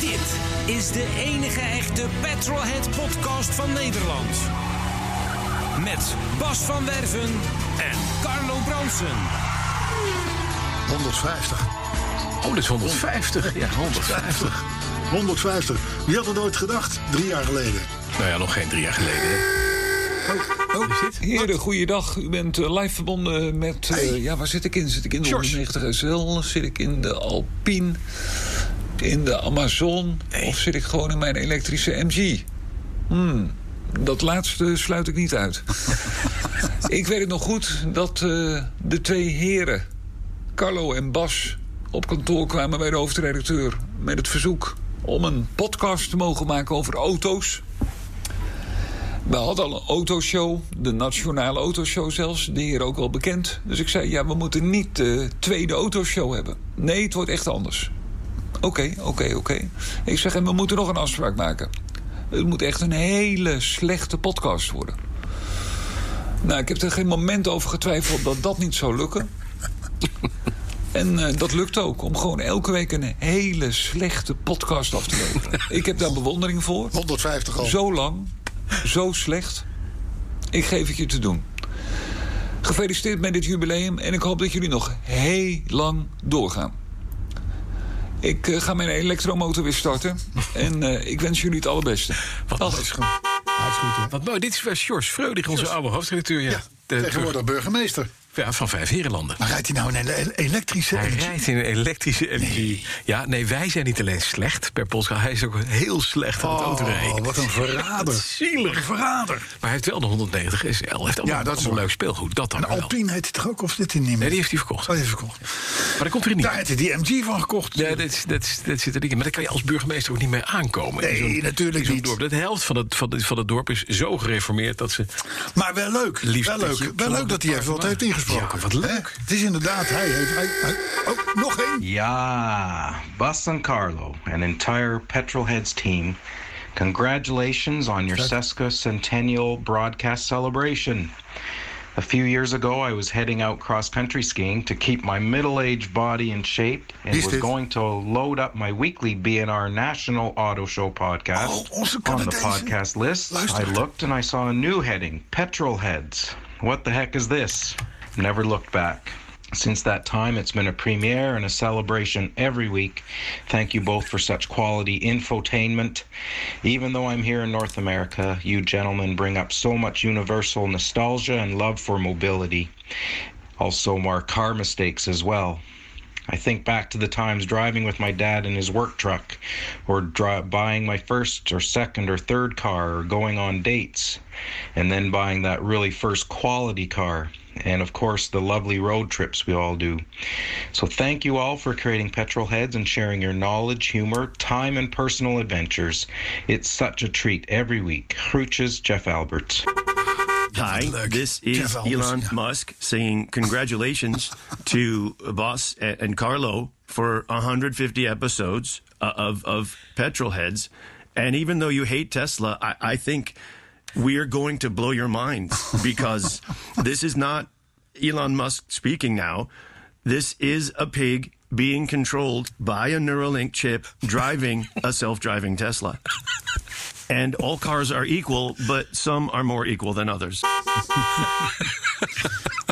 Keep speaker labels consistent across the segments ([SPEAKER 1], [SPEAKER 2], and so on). [SPEAKER 1] Dit is de enige echte Petrolhead podcast van Nederland. Met Bas van Werven en Carlo Bronsen.
[SPEAKER 2] 150.
[SPEAKER 3] Oh, dit is 150. Ja, 150.
[SPEAKER 2] 150. Wie had het ooit gedacht? Drie jaar geleden.
[SPEAKER 3] Nou ja, nog geen drie jaar geleden. hè.
[SPEAKER 4] Heren, goeiedag. U bent eh, live verbonden met... eh, Ja, waar zit ik in? Zit ik in de
[SPEAKER 3] George.
[SPEAKER 4] 190 SL? Zit ik in de Alpine? In de Amazon? Of zit ik gewoon in mijn elektrische MG? Hmm, dat laatste sluit ik niet uit. ik weet het nog goed dat eh, de twee heren, Carlo en Bas, op kantoor kwamen bij de hoofdredacteur met het verzoek om een podcast te mogen maken over auto's. We hadden al een autoshow, de nationale autoshow zelfs, die hier ook al bekend. Dus ik zei, ja, we moeten niet de tweede autoshow hebben. Nee, het wordt echt anders. Oké, oké, oké. Ik zeg, en we moeten nog een afspraak maken. Het moet echt een hele slechte podcast worden. Nou, ik heb er geen moment over getwijfeld dat dat niet zou lukken. En eh, dat lukt ook, om gewoon elke week een hele slechte podcast af te leveren. Ik heb daar bewondering voor.
[SPEAKER 2] 150 al.
[SPEAKER 4] Zo lang, zo slecht. Ik geef het je te doen. Gefeliciteerd met dit jubileum en ik hoop dat jullie nog heel lang doorgaan. Ik eh, ga mijn elektromotor weer starten en eh, ik wens jullie het allerbeste.
[SPEAKER 3] Wat
[SPEAKER 4] Dag.
[SPEAKER 3] is Wat mooi. Dit is wel George Freudig, onze oude hoofdredacteur. Ja,
[SPEAKER 2] Ja,
[SPEAKER 3] De-
[SPEAKER 2] tegenwoordig burgemeester.
[SPEAKER 3] ja, van Vijf Herenlanden.
[SPEAKER 2] Maar rijdt hij nou een ele- elektrische
[SPEAKER 3] Hij
[SPEAKER 2] MG?
[SPEAKER 3] rijdt in een elektrische MG. Ja, nee, wij zijn niet alleen slecht per podcast. Hij is ook heel slecht aan het
[SPEAKER 2] Oh,
[SPEAKER 3] autorijden.
[SPEAKER 2] wat een verrader.
[SPEAKER 3] Zielig.
[SPEAKER 2] Verrader.
[SPEAKER 3] Maar hij heeft wel de 190 SL. Hij heeft allemaal,
[SPEAKER 2] Ja, dat is
[SPEAKER 3] allemaal
[SPEAKER 2] waar.
[SPEAKER 3] leuk speelgoed. Dat dan
[SPEAKER 2] Een
[SPEAKER 3] wel.
[SPEAKER 2] Alpine heet hij toch ook? Of zit hij niet meer?
[SPEAKER 3] Nee, die heeft hij verkocht.
[SPEAKER 2] Oh, die heeft hij verkocht.
[SPEAKER 3] Maar dat komt er niet.
[SPEAKER 2] Daar heeft hij die MG van gekocht.
[SPEAKER 3] Ja, dat, is- dat, is- dat zit er niet in. Maar daar kan je als burgemeester ook niet mee aankomen. in
[SPEAKER 2] Nee,
[SPEAKER 3] zo'n-
[SPEAKER 2] natuurlijk
[SPEAKER 3] in zo'n
[SPEAKER 2] niet.
[SPEAKER 3] Dorp. De helft van het, van, het, van het dorp is zo gereformeerd dat ze...
[SPEAKER 2] Maar wel leuk.
[SPEAKER 3] Liefst
[SPEAKER 2] wel
[SPEAKER 3] dat
[SPEAKER 2] leuk,
[SPEAKER 3] je op
[SPEAKER 2] wel
[SPEAKER 3] zo'n
[SPEAKER 2] leuk dat hij even wat heeft ingesproken.
[SPEAKER 3] Ja, wat leuk.
[SPEAKER 2] Hè? Het is inderdaad, hij heeft... Hij, hij- oh, nog één.
[SPEAKER 5] Yeah, Bus and Carlo, an entire Petrolheads team, congratulations on your Seska Centennial broadcast celebration. A few years ago, I was heading out cross country skiing to keep my middle aged body in shape and
[SPEAKER 2] Yes,
[SPEAKER 5] was
[SPEAKER 2] it is.
[SPEAKER 5] going to load up my weekly BNR National Auto Show podcast
[SPEAKER 2] Oh, also
[SPEAKER 5] on the
[SPEAKER 2] Canadese.
[SPEAKER 5] podcast list. I
[SPEAKER 2] Luister.
[SPEAKER 5] looked and I saw a new heading Petrolheads. What the heck is this? Never looked back. Since that time, it's been a premiere and a celebration every week. Thank you both for such quality infotainment. Even though I'm here in North America, you gentlemen bring up so much universal nostalgia and love for mobility. Also, more car mistakes as well. I think back to the times driving with my dad in his work truck, or dri- buying my first or second or third car, or going on dates, and then buying that really first quality car, and of course the lovely road trips we all do. So thank you all for creating Petrol Heads and sharing your knowledge, humor, time, and personal adventures. It's such a treat every week. Hruches, Jeff Alberts.
[SPEAKER 6] Hi,
[SPEAKER 2] Look,
[SPEAKER 6] this
[SPEAKER 2] Jeff
[SPEAKER 6] is
[SPEAKER 2] Albers,
[SPEAKER 6] Elon
[SPEAKER 2] yeah.
[SPEAKER 6] Musk saying congratulations to Boss and, and Carlo for 150 episodes uh, of of Petrolheads. And even though you hate Tesla, I, I think we are going to blow your mind because this is not Elon Musk speaking now. This is a pig being controlled by a Neuralink chip driving a self-driving Tesla. And all cars are equal, but some are more equal than others.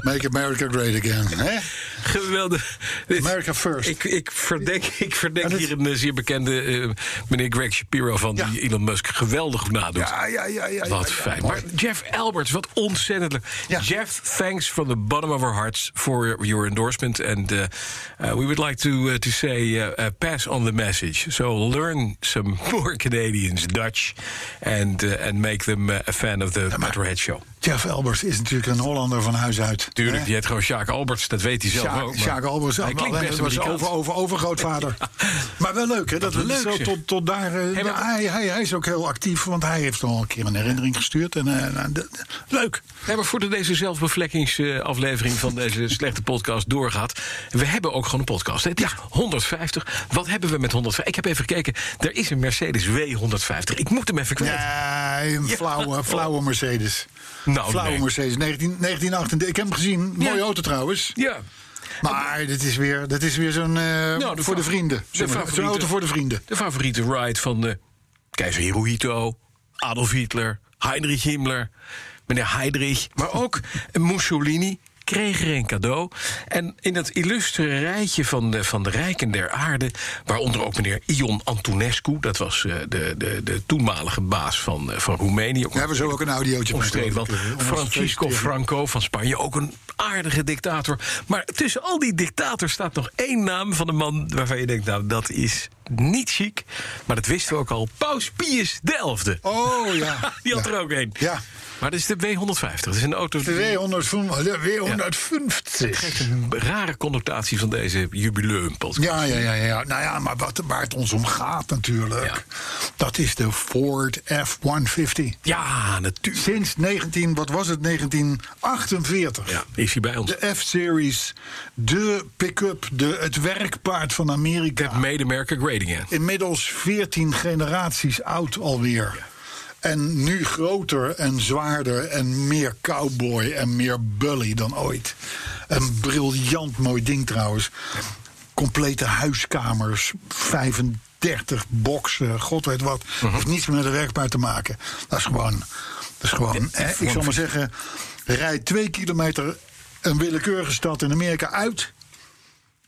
[SPEAKER 2] Make America great again. Hè?
[SPEAKER 3] Geweldig. Dit-
[SPEAKER 2] America first.
[SPEAKER 3] Ik, ik verdek, ik verdek
[SPEAKER 2] En het-
[SPEAKER 3] hier een eh, zeer bekende eh, meneer Greg Shapiro van...
[SPEAKER 2] Ja.
[SPEAKER 3] die Elon Musk geweldig goed nadoet.
[SPEAKER 2] Ja, ja, ja, ja.
[SPEAKER 3] Wat
[SPEAKER 2] ja, ja.
[SPEAKER 3] fijn. Maar Jeff Alberts, wat ontzettend leuk.
[SPEAKER 2] Ja.
[SPEAKER 3] Jeff, thanks from the bottom of our hearts for your endorsement. And uh, uh, we would like to, uh, to say uh, uh, pass on the message. So learn some more Canadians Dutch and, uh, and make them uh, a fan of the Petrohead Show.
[SPEAKER 2] Jeff Albers is natuurlijk een Hollander van huis uit.
[SPEAKER 3] Tuurlijk,
[SPEAKER 2] Hè?
[SPEAKER 3] die heet gewoon Sjaak Alberts, dat weet hij zelf
[SPEAKER 2] Sjaak-
[SPEAKER 3] ook. maar
[SPEAKER 2] Sjaak Albers,
[SPEAKER 3] hij
[SPEAKER 2] alleen
[SPEAKER 3] klinkt best
[SPEAKER 2] dat was
[SPEAKER 3] Amerikaans.
[SPEAKER 2] over, over, overgrootvader. Maar wel leuk, hè? Dat,
[SPEAKER 3] Wat
[SPEAKER 2] we
[SPEAKER 3] leuk,
[SPEAKER 2] zo
[SPEAKER 3] zeg.
[SPEAKER 2] tot, tot daar... eh,
[SPEAKER 3] maar-
[SPEAKER 2] hij, hij, hij is ook heel actief, want hij heeft al een keer een herinnering gestuurd. En, eh, nou, de- de- leuk.
[SPEAKER 3] We hebben voordat deze zelfbevlekkingsaflevering van deze slechte podcast doorgaat. We hebben ook gewoon een podcast. hè. Het is 150. Wat hebben we met 150? Ik heb even gekeken. Er is een Mercedes W150. Ik moet hem even kwijt.
[SPEAKER 2] Nee, een flauwe, flauwe Mercedes.
[SPEAKER 3] Nou,
[SPEAKER 2] flauwe
[SPEAKER 3] nee.
[SPEAKER 2] Mercedes, 19, 1938. Ik heb hem gezien, mooie
[SPEAKER 3] Ja.
[SPEAKER 2] auto trouwens.
[SPEAKER 3] Ja.
[SPEAKER 2] Maar dit is weer, dit is weer zo'n eh,
[SPEAKER 3] Nou,
[SPEAKER 2] voor de
[SPEAKER 3] fa-
[SPEAKER 2] vrienden.
[SPEAKER 3] de
[SPEAKER 2] zeg maar. Zo'n
[SPEAKER 3] favoriete-
[SPEAKER 2] auto voor de vrienden.
[SPEAKER 3] De favoriete ride van de keizer Hirohito, Adolf Hitler, Heinrich Himmler, meneer Heydrich, maar ook Mussolini kreeg er een cadeau. En in dat illustre rijtje van de, van de rijken der aarde... waaronder ook meneer Ion Antonescu... dat was eh, de, de, de toenmalige baas van, eh, van Roemenië... ook
[SPEAKER 2] Daar hebben we zo ook een audiootje
[SPEAKER 3] omstreden. Want
[SPEAKER 2] gekregen, hè, om ons te
[SPEAKER 3] Francisco
[SPEAKER 2] feliciteren.
[SPEAKER 3] Franco van Spanje, ook een aardige dictator. Maar tussen al die dictators staat nog één naam van een man waarvan je denkt: nou, dat is niet chic. Maar dat wisten we ook al. Paus Pius XI.
[SPEAKER 2] Oh ja.
[SPEAKER 3] Die had
[SPEAKER 2] Ja.
[SPEAKER 3] er ook één.
[SPEAKER 2] Ja.
[SPEAKER 3] Maar dat is de W150. Dat is een auto. die- Geeft
[SPEAKER 2] 250.
[SPEAKER 3] een rare connotatie van deze jubileumpot.
[SPEAKER 2] Ja, ja, ja, ja. Nou ja, maar wat, waar het ons om gaat natuurlijk. Dat is de Ford F-150.
[SPEAKER 3] Ja, natuurlijk.
[SPEAKER 2] Sinds 19, wat was het, 1948.
[SPEAKER 3] Ja, is hij bij ons.
[SPEAKER 2] De F-Series, de pick-up, de, het werkpaard van Amerika.
[SPEAKER 3] Het medemerker Grading. hè.
[SPEAKER 2] inmiddels 14 generaties oud alweer. En nu groter en zwaarder en meer cowboy en meer bully dan ooit. Een briljant mooi ding trouwens. Complete huiskamers, 35 boksen, god weet wat. Heeft niets meer met de werkpaard te maken. Dat is gewoon, dat is gewoon hè, ik zal maar zeggen... rij twee kilometer een willekeurige stad in Amerika uit...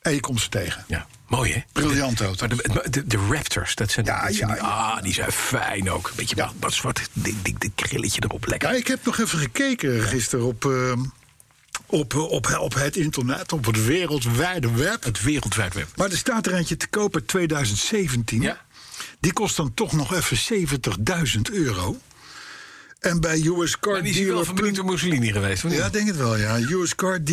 [SPEAKER 2] en je komt ze tegen.
[SPEAKER 3] Ja, mooi hè?
[SPEAKER 2] Briljant auto.
[SPEAKER 3] Maar de, maar de, de Raptors, dat zijn,
[SPEAKER 2] Ja,
[SPEAKER 3] dat zijn
[SPEAKER 2] ja,
[SPEAKER 3] die-
[SPEAKER 2] ja.
[SPEAKER 3] Ah, die zijn fijn ook. Beetje wat, wat zwart, dik, dik, dik grilletje erop, lekker.
[SPEAKER 2] Ja, ik heb nog even gekeken gisteren op, eh, op, eh, op, op het internet, op het wereldwijde web.
[SPEAKER 3] Het wereldwijd web.
[SPEAKER 2] Maar er staat er eentje te koop uit 2017.
[SPEAKER 3] Ja.
[SPEAKER 2] Die kost dan toch nog even 70.000 euro. En bij
[SPEAKER 3] Maar die is wel van
[SPEAKER 2] uscardealer.nl...
[SPEAKER 3] benieuwd door Mussolini geweest, of niet?
[SPEAKER 2] Ja, ik denk het wel, ja.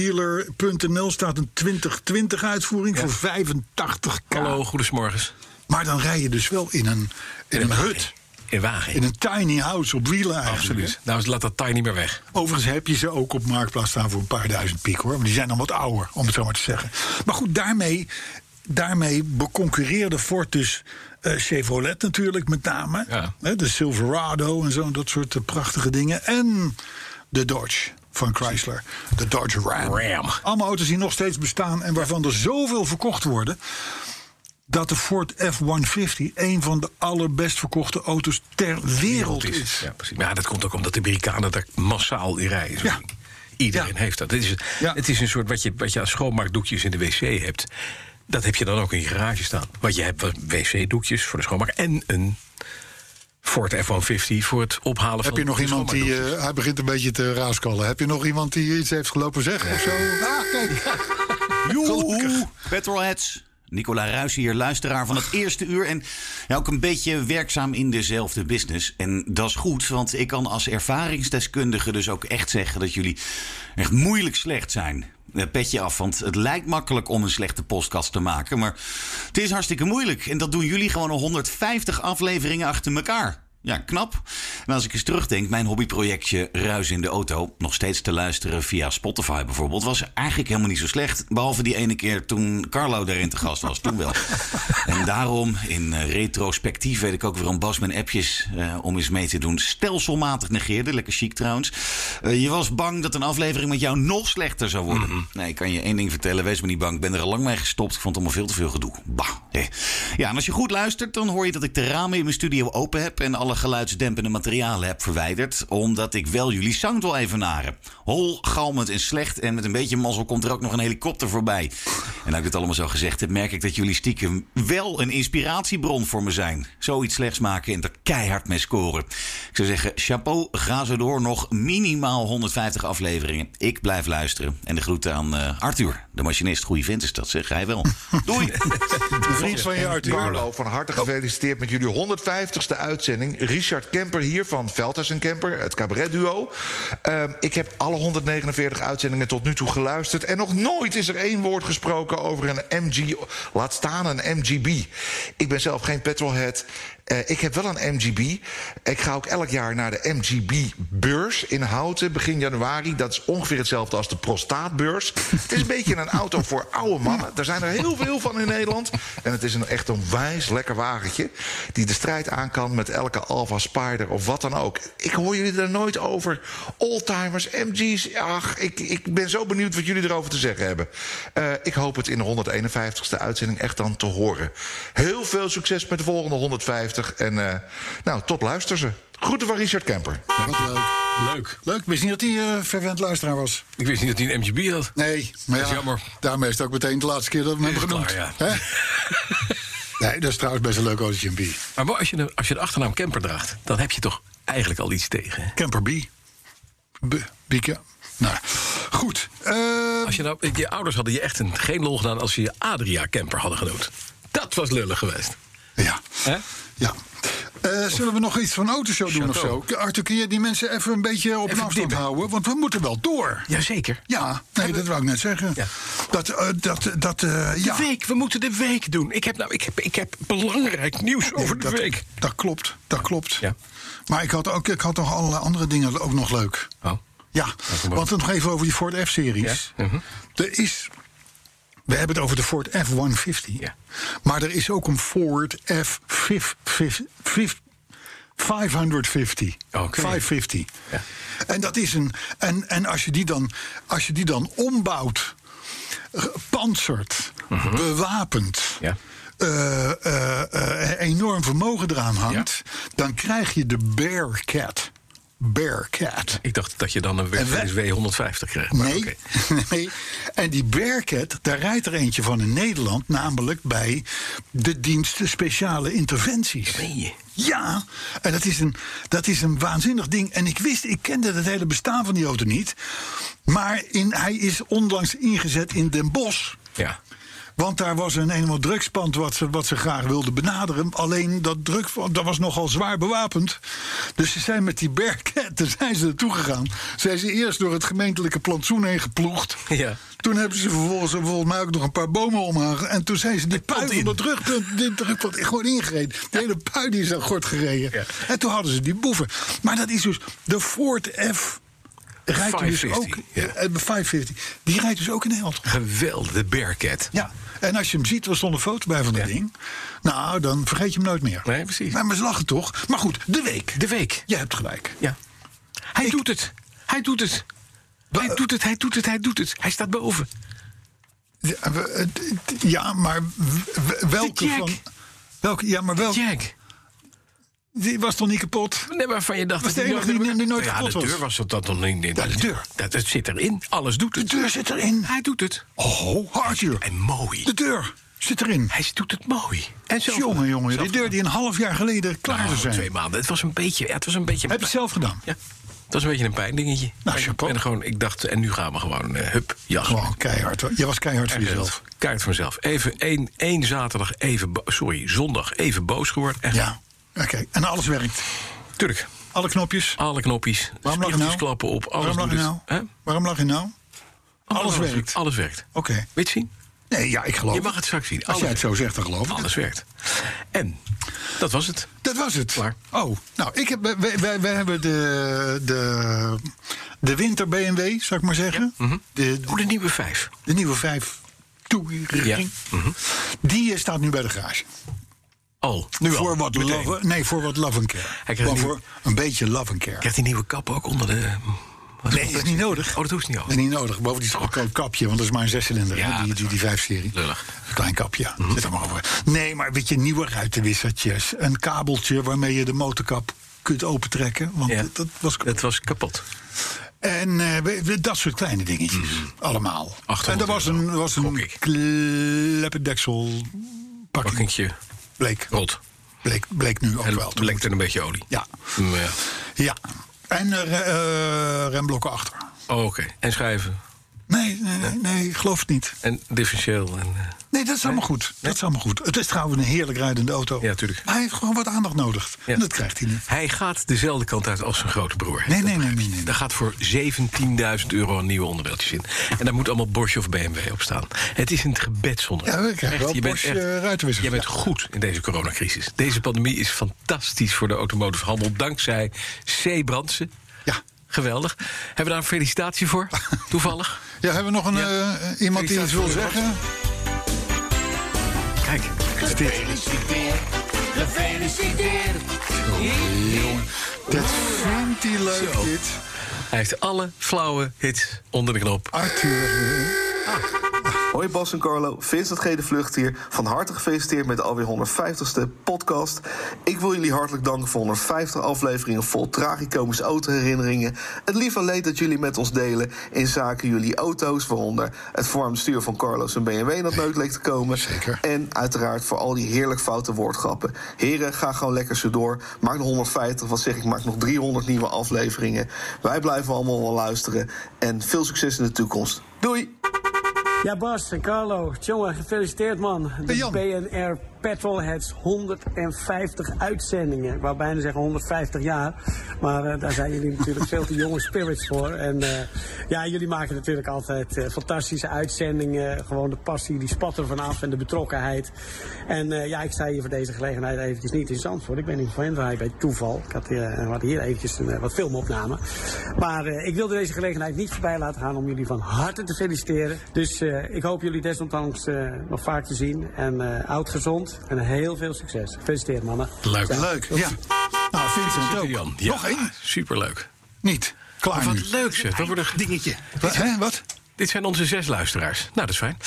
[SPEAKER 2] uscardealer.nl staat een 2020-uitvoering
[SPEAKER 3] Ja.
[SPEAKER 2] voor 85k.
[SPEAKER 3] Hallo, goedemorgens.
[SPEAKER 2] Maar dan rij je dus wel in een, in een hut,
[SPEAKER 3] In Wagen.
[SPEAKER 2] in een tiny house op wielen eigenlijk. hè?
[SPEAKER 3] Absoluut. Nou, laat dat tiny maar weg.
[SPEAKER 2] Overigens heb je ze ook op Marktplaats staan voor een paar duizend piek hoor. Maar die zijn dan wat ouder, om het zo maar te zeggen. Maar goed, daarmee, daarmee beconcurreerde Ford dus eh, Chevrolet natuurlijk met name.
[SPEAKER 3] Ja.
[SPEAKER 2] Hè, de Silverado en zo, dat soort eh, prachtige dingen. En de Dodge van Chrysler. De Dodge Ram.
[SPEAKER 3] Ram.
[SPEAKER 2] Allemaal auto's die nog steeds bestaan en waarvan er zoveel verkocht worden... dat de Ford F-150 een van de allerbest verkochte auto's ter wereld is.
[SPEAKER 3] Ja, precies. Maar ja, dat komt ook omdat de Amerikanen daar massaal in rijden. zo
[SPEAKER 2] Ja.
[SPEAKER 3] ding. Iedereen
[SPEAKER 2] Ja.
[SPEAKER 3] heeft dat. Het is,
[SPEAKER 2] Ja.
[SPEAKER 3] het is een soort wat je, wat je als schoonmaakdoekjes in de wc hebt. Dat heb je dan ook in je garage staan. Want je hebt wat wc-doekjes voor de schoonmaak en een Ford F-150 voor het ophalen van
[SPEAKER 2] Heb je nog
[SPEAKER 3] de
[SPEAKER 2] iemand die.
[SPEAKER 3] schoonmaakdoekjes.
[SPEAKER 2] eh, hij begint een beetje te raaskallen. Heb je nog iemand die iets heeft gelopen zeggen of zo? Ah, kijk. Gelukkig.
[SPEAKER 7] Joehoe! Petrolheads. Nicola Ruijs hier, luisteraar van het eerste uur. En ja, ook een beetje werkzaam in dezelfde business. En dat is goed, want ik kan als ervaringsdeskundige dus ook echt zeggen dat jullie echt moeilijk slecht zijn. Eh, Petje af, want het lijkt makkelijk om een slechte podcast te maken. Maar het is hartstikke moeilijk. En dat doen jullie gewoon al 150 afleveringen achter elkaar. Ja, knap. En als ik eens terugdenk, mijn hobbyprojectje Ruis in de Auto, nog steeds te luisteren via Spotify bijvoorbeeld, was eigenlijk helemaal niet zo slecht. Behalve die ene keer toen Carlo daarin te gast was, toen wel. En daarom, in eh, retrospectief, weet ik ook weer een Bas mijn appjes eh, om eens mee te doen, stelselmatig negeerde. Lekker chic trouwens. Eh, je was bang dat een aflevering met jou nog slechter zou worden. Nee, ik kan je één ding vertellen, wees me niet bang. Ik ben er al lang mee gestopt. Ik vond het allemaal veel te veel gedoe. Bah. hè. Ja, en als je goed luistert, dan hoor je dat ik de ramen in mijn studio open heb en alle geluidsdempende materialen heb verwijderd. Omdat ik wel jullie sound wil evenaren. Hol, galmend en slecht. En met een beetje mazzel komt er ook nog een helikopter voorbij. En nou ik dit allemaal zo gezegd heb, merk ik dat jullie stiekem wel een inspiratiebron voor me zijn. Zoiets slechts maken en er keihard mee scoren. Ik zou zeggen, chapeau, ga zo door. Nog minimaal 150 afleveringen. Ik blijf luisteren. En de groeten aan eh, Arthur, de machinist. Goeie vent is dat, zeg hij wel. Doei!
[SPEAKER 2] Een vriend van je Arthur.
[SPEAKER 8] Carlo, van harte gefeliciteerd met jullie 150ste uitzending. Richard Kemper hier van Veldhuis en Kemper, het cabaret duo. Ehm, ik heb alle 149 uitzendingen tot nu toe geluisterd. En nog nooit is er één woord gesproken over een MG. Laat staan een MGB. Ik ben zelf geen petrolhead. Eh, ik heb wel een MGB. Ik ga ook elk jaar naar de MGB-beurs in Houten begin januari. Dat is ongeveer hetzelfde als de prostaatbeurs. het is een beetje een auto voor oude mannen. Er zijn er heel veel van in Nederland. En het is een, echt een wijs lekker wagentje... die de strijd aan kan met elke Alfa Spider of wat dan ook. Ik hoor jullie er nooit over. Oldtimers, MG's, ach, ik, ik ben zo benieuwd wat jullie erover te zeggen hebben. Eh, ik hoop het in de 151ste uitzending echt dan te horen. Heel veel succes met de volgende 150. En eh, nou, tot luister ze. Groeten van Richard Kemper.
[SPEAKER 2] Wat leuk.
[SPEAKER 3] Leuk.
[SPEAKER 2] Leuk, ik wist niet dat hij eh, verwend luisteraar was.
[SPEAKER 3] Ik wist niet dat hij een MGB had.
[SPEAKER 2] Nee, maar
[SPEAKER 3] Dat is
[SPEAKER 2] ja,
[SPEAKER 3] jammer.
[SPEAKER 2] daarmee is het ook meteen de laatste keer dat we hem hebben genoemd.
[SPEAKER 3] Klaar,
[SPEAKER 2] Hè? nee, dat is trouwens best een leuk autootje, een B.
[SPEAKER 3] Maar wel als je, de, als je de achternaam Kemper draagt, dan heb je toch eigenlijk al iets tegen. hè?
[SPEAKER 2] Camper B. B. Bieke. Nou, goed. Eh,
[SPEAKER 3] Als je, nou, je ouders hadden je echt een, geen lol gedaan als ze je Adria Kemper hadden genoemd. Dat was lullig geweest.
[SPEAKER 2] ja. ja. Eh, zullen we nog iets van autoshow doen of zo? Arthur, kun je die mensen even een beetje op een
[SPEAKER 3] Even
[SPEAKER 2] afstand
[SPEAKER 3] dimmen.
[SPEAKER 2] houden? Want we moeten wel door.
[SPEAKER 3] Jazeker.
[SPEAKER 2] Ja, nee, dat wou ik net zeggen.
[SPEAKER 3] Ja.
[SPEAKER 2] Dat, eh, dat, dat, eh, ja.
[SPEAKER 3] De week, we moeten de week doen. Ik heb, nou, ik heb, ik heb belangrijk nieuws over de
[SPEAKER 2] dat,
[SPEAKER 3] week.
[SPEAKER 2] Dat klopt, dat klopt.
[SPEAKER 3] Ja.
[SPEAKER 2] Maar ik had, ook, ik had nog allerlei andere dingen ook nog leuk.
[SPEAKER 3] Oh.
[SPEAKER 2] Ja, want dan nog even over die Ford F-series.
[SPEAKER 3] Ja, mhm.
[SPEAKER 2] Er is... We hebben het over de Ford F-150.
[SPEAKER 3] Ja.
[SPEAKER 2] Maar er is ook een Ford F-550.
[SPEAKER 3] Oké.
[SPEAKER 2] 550. En dat is een. En, en als, je die dan, als je die dan ombouwt, gepantserd, bewapend.
[SPEAKER 3] Mhm. Ja.
[SPEAKER 2] eh, eh, eh, enorm vermogen eraan hangt, dan krijg je de Bearcat. Bearcat.
[SPEAKER 3] Ik dacht dat je dan een
[SPEAKER 2] En wij-
[SPEAKER 3] Mercedes W150 kreeg. maar
[SPEAKER 2] Nee,
[SPEAKER 3] oké.
[SPEAKER 2] nee. En die Bearcat, daar rijdt er eentje van in Nederland, namelijk bij de dienst speciale interventies.
[SPEAKER 3] Meen je?
[SPEAKER 2] Ja, en dat is, een, dat is een waanzinnig ding. En ik wist, ik kende het hele bestaan van die auto niet. Maar in, hij is onlangs ingezet in Den Bosch.
[SPEAKER 3] Ja.
[SPEAKER 2] Want daar was een eenmaal drugspand wat ze, wat ze graag wilden benaderen. Alleen dat drug dat was nogal zwaar bewapend. Dus ze zijn met die berketten zijn ze naartoe gegaan. Zijn ze eerst door het gemeentelijke plantsoen heen geploegd.
[SPEAKER 3] Ja.
[SPEAKER 2] Toen hebben ze vervolgens volgens mij ook nog een paar bomen omhangen. En toen zijn ze die pui van
[SPEAKER 3] in.
[SPEAKER 2] dat drugpunt, dit drugpunt gewoon ingereden. De hele pui die is dan gort gereden.
[SPEAKER 3] Ja.
[SPEAKER 2] En toen hadden ze die boeven. Maar dat is dus de Ford F... Rijdt er dus ook,
[SPEAKER 3] 550, ja.
[SPEAKER 2] eh, 550. Die rijdt dus ook in Nederland.
[SPEAKER 3] Geweldig, de Bearcat.
[SPEAKER 2] Ja, en als je hem ziet, er stond een foto bij van dat
[SPEAKER 3] Ja.
[SPEAKER 2] ding. Nou, dan vergeet je hem nooit meer.
[SPEAKER 3] Nee, precies.
[SPEAKER 2] Maar, maar ze lachen toch? Maar goed, de week.
[SPEAKER 3] De week.
[SPEAKER 2] Je hebt gelijk.
[SPEAKER 3] Ja. Hij doet het. Hij doet het. Hij doet het, hij doet het, hij doet het. Hij staat boven.
[SPEAKER 2] Ja, we- eh, d- d- Ja, maar w- w- welke
[SPEAKER 3] Jack.
[SPEAKER 2] van... Welke, ja, maar welke...
[SPEAKER 3] Jack.
[SPEAKER 2] Die was toch niet kapot?
[SPEAKER 3] Nee, waarvan je dacht
[SPEAKER 2] Was de enige die- die nooit
[SPEAKER 3] ja,
[SPEAKER 2] kapot
[SPEAKER 3] de
[SPEAKER 2] was.
[SPEAKER 3] deur was dat dan nog niet.
[SPEAKER 2] Ja, de deur.
[SPEAKER 3] Dat, dat zit erin. Alles doet het.
[SPEAKER 2] De deur zit erin.
[SPEAKER 3] Hij doet het.
[SPEAKER 2] Oh, Arthur.
[SPEAKER 3] En mooi.
[SPEAKER 2] De deur zit erin.
[SPEAKER 3] Hij doet het mooi. En zo.
[SPEAKER 2] Jongen, jongen. Die deur die een half jaar geleden klaar zou zijn.
[SPEAKER 3] Ah, twee maanden. Het was een beetje. Ja, het was een beetje.
[SPEAKER 2] Heb je het zelf gedaan?
[SPEAKER 3] Ja. Het was een beetje een pijndingetje.
[SPEAKER 2] Nou,
[SPEAKER 3] ik,
[SPEAKER 2] chapeau.
[SPEAKER 3] ben gewoon, ik dacht, en nu gaan we gewoon. eh, hup, jas.
[SPEAKER 2] Gewoon Oh, keihard. hoor. Je was keihard voor jezelf.
[SPEAKER 3] Kaart voor mezelf. Even één, één zaterdag, even. bo- Sorry, zondag even boos geworden. Echt.
[SPEAKER 2] Ja. Oké, en alles werkt.
[SPEAKER 3] Tuurlijk.
[SPEAKER 2] Alle knopjes.
[SPEAKER 3] Alle knopjes.
[SPEAKER 2] Waarom lag je
[SPEAKER 3] spiegeltjes
[SPEAKER 2] nou?
[SPEAKER 3] klappen op. Alles
[SPEAKER 2] Waarom lag je
[SPEAKER 3] doet het.
[SPEAKER 2] nou?
[SPEAKER 3] Hè?
[SPEAKER 2] Waarom lag je nou? Alles werkt.
[SPEAKER 3] Alles werkt.
[SPEAKER 2] Oké.
[SPEAKER 3] Weet je het zien?
[SPEAKER 2] Nee, ja, ik geloof
[SPEAKER 3] Je mag het straks zien.
[SPEAKER 2] Als jij het zo zegt, dan geloof ik het.
[SPEAKER 3] Alles werkt. En dat was het.
[SPEAKER 2] Dat was het.
[SPEAKER 3] Klaar.
[SPEAKER 2] Oh, nou, ik heb, wij, wij, wij hebben de, de, de winter BMW, zou ik maar zeggen. de,
[SPEAKER 3] Hoe
[SPEAKER 2] de,
[SPEAKER 3] Mhm. Oh, de nieuwe vijf.
[SPEAKER 2] de nieuwe 5 Touring.
[SPEAKER 3] Ja. Mhm.
[SPEAKER 2] Die eh, staat nu bij de garage.
[SPEAKER 3] Oh, nu
[SPEAKER 2] voor
[SPEAKER 3] al,
[SPEAKER 2] Wat
[SPEAKER 3] meteen.
[SPEAKER 2] love, nee, voor wat love and care.
[SPEAKER 3] krijgt
[SPEAKER 2] Maar
[SPEAKER 3] een
[SPEAKER 2] voor een beetje love and care.
[SPEAKER 3] Krijgt die nieuwe kap ook onder de... Wat
[SPEAKER 2] Nee, is niet nodig.
[SPEAKER 3] Oh, dat hoeft niet
[SPEAKER 2] Dat
[SPEAKER 3] over.
[SPEAKER 2] is niet nodig. Bovendien is het ook een kapje, want dat is maar een zescilinder,
[SPEAKER 3] Ja,
[SPEAKER 2] hè, die,
[SPEAKER 3] dat is
[SPEAKER 2] die, die vijf-serie.
[SPEAKER 3] Lullig. Mhm.
[SPEAKER 2] Een klein kapje, ja. Zit er maar over. Nee, maar weet je, nieuwe ruitenwissertjes. Een kabeltje waarmee je de motorkap kunt opentrekken. Want
[SPEAKER 3] Ja.
[SPEAKER 2] dat, dat was kapot.
[SPEAKER 3] Het was kapot.
[SPEAKER 2] En eh, we- we- dat soort kleine dingetjes.
[SPEAKER 3] Mhm.
[SPEAKER 2] Allemaal.
[SPEAKER 3] 800
[SPEAKER 2] En er was een, was
[SPEAKER 3] gok
[SPEAKER 2] een
[SPEAKER 3] ik.
[SPEAKER 2] kleppendeksel pakking.
[SPEAKER 3] Pakkingje
[SPEAKER 2] Bleek,
[SPEAKER 3] rot.
[SPEAKER 2] bleek, bleek nu ook
[SPEAKER 3] En
[SPEAKER 2] wel.
[SPEAKER 3] het
[SPEAKER 2] te
[SPEAKER 3] lekt er
[SPEAKER 2] moeten.
[SPEAKER 3] een beetje olie.
[SPEAKER 2] Ja.
[SPEAKER 3] Maar ja.
[SPEAKER 2] ja. En eh, re- eh, remblokken achter.
[SPEAKER 3] Oh, Oké. En schuiven.
[SPEAKER 2] Nee, nee, nee, nee, ik geloof het niet.
[SPEAKER 3] En differentieel. En, eh,
[SPEAKER 2] Nee, dat is allemaal goed. Dat is allemaal goed. Het is trouwens een heerlijk rijdende auto.
[SPEAKER 3] Ja, tuurlijk.
[SPEAKER 2] Maar hij heeft gewoon wat aandacht nodig.
[SPEAKER 3] ja.
[SPEAKER 2] En dat krijgt hij niet.
[SPEAKER 3] Hij gaat dezelfde kant uit als zijn grote broer.
[SPEAKER 2] Nee, nee, nee, nee, nee.
[SPEAKER 3] Daar gaat voor 17.000 euro aan nieuwe onderdeeltjes in. En daar moet allemaal Bosch of BMW op staan. Het is een gebed zonder.
[SPEAKER 2] Ja, we krijgen wel
[SPEAKER 3] je bent
[SPEAKER 2] Bosch, eh, ruitenwissers,
[SPEAKER 3] Je bent
[SPEAKER 2] ja.
[SPEAKER 3] goed in deze coronacrisis. Deze pandemie is fantastisch voor de automotive handel. Dankzij C. Brandsen.
[SPEAKER 2] Ja.
[SPEAKER 3] Geweldig. Hebben we daar een felicitatie voor? Toevallig.
[SPEAKER 2] Ja, hebben we nog een,
[SPEAKER 3] Ja.
[SPEAKER 2] eh, iemand die iets wil
[SPEAKER 3] Felicitaties.
[SPEAKER 2] zeggen?
[SPEAKER 3] Kijk, is dit.
[SPEAKER 2] Dat vindt hij leuk, dit.
[SPEAKER 3] Hij heeft alle flauwe hits onder de knop.
[SPEAKER 2] Arthur.
[SPEAKER 9] Hoi Bas en Carlo, Vincent G. de Vlucht hier. Van harte gefeliciteerd met de alweer 150ste podcast. Ik wil jullie hartelijk danken voor 150 afleveringen vol tragicomische autoherinneringen. Het lieve leed dat jullie met ons delen in zaken jullie auto's, waaronder het verwarmde stuur van Carlo's en BMW dat nooit leek te komen.
[SPEAKER 2] Zeker.
[SPEAKER 9] En uiteraard voor al die heerlijk foute woordgrappen. Heren, ga gewoon lekker zo door. Maak nog 150, wat zeg ik, maak nog 300 nieuwe afleveringen. Wij blijven allemaal wel luisteren. En veel succes in de toekomst. Doei!
[SPEAKER 10] Ja, Bas en Carlo. Jongen, gefeliciteerd man. De
[SPEAKER 2] Hey, Jan.
[SPEAKER 10] BNR Petrolheads 150 uitzendingen. Ik wou bijna zeggen 150 jaar. Maar eh, daar zijn jullie natuurlijk veel te jonge spirits voor. En eh, ja, jullie maken natuurlijk altijd eh, fantastische uitzendingen. Gewoon de passie, die spat er vanaf en de betrokkenheid. En eh, ja, ik sta hier voor deze gelegenheid eventjes niet in Zandvoort. Ik ben in Van Venray bij toeval. Ik had, eh, we hadden hier eventjes een, eh, wat filmopname. Maar eh, ik wilde deze gelegenheid niet voorbij laten gaan om jullie van harte te feliciteren. Dus eh, ik hoop jullie desondanks eh, nog vaak te zien. En eh, oud gezond en heel veel succes. Gefeliciteerd mannen.
[SPEAKER 3] Leuk.
[SPEAKER 10] Ciao.
[SPEAKER 2] Leuk, ja. Nou, Vincent ook.
[SPEAKER 3] Jan, ja,
[SPEAKER 2] Nog één?
[SPEAKER 3] Superleuk.
[SPEAKER 2] Niet. Klaar nu.
[SPEAKER 3] Wat leuk zeg. We worden dingetje.
[SPEAKER 2] Wa- hè, wat?
[SPEAKER 3] Dit zijn onze zes luisteraars. Nou, dat is fijn.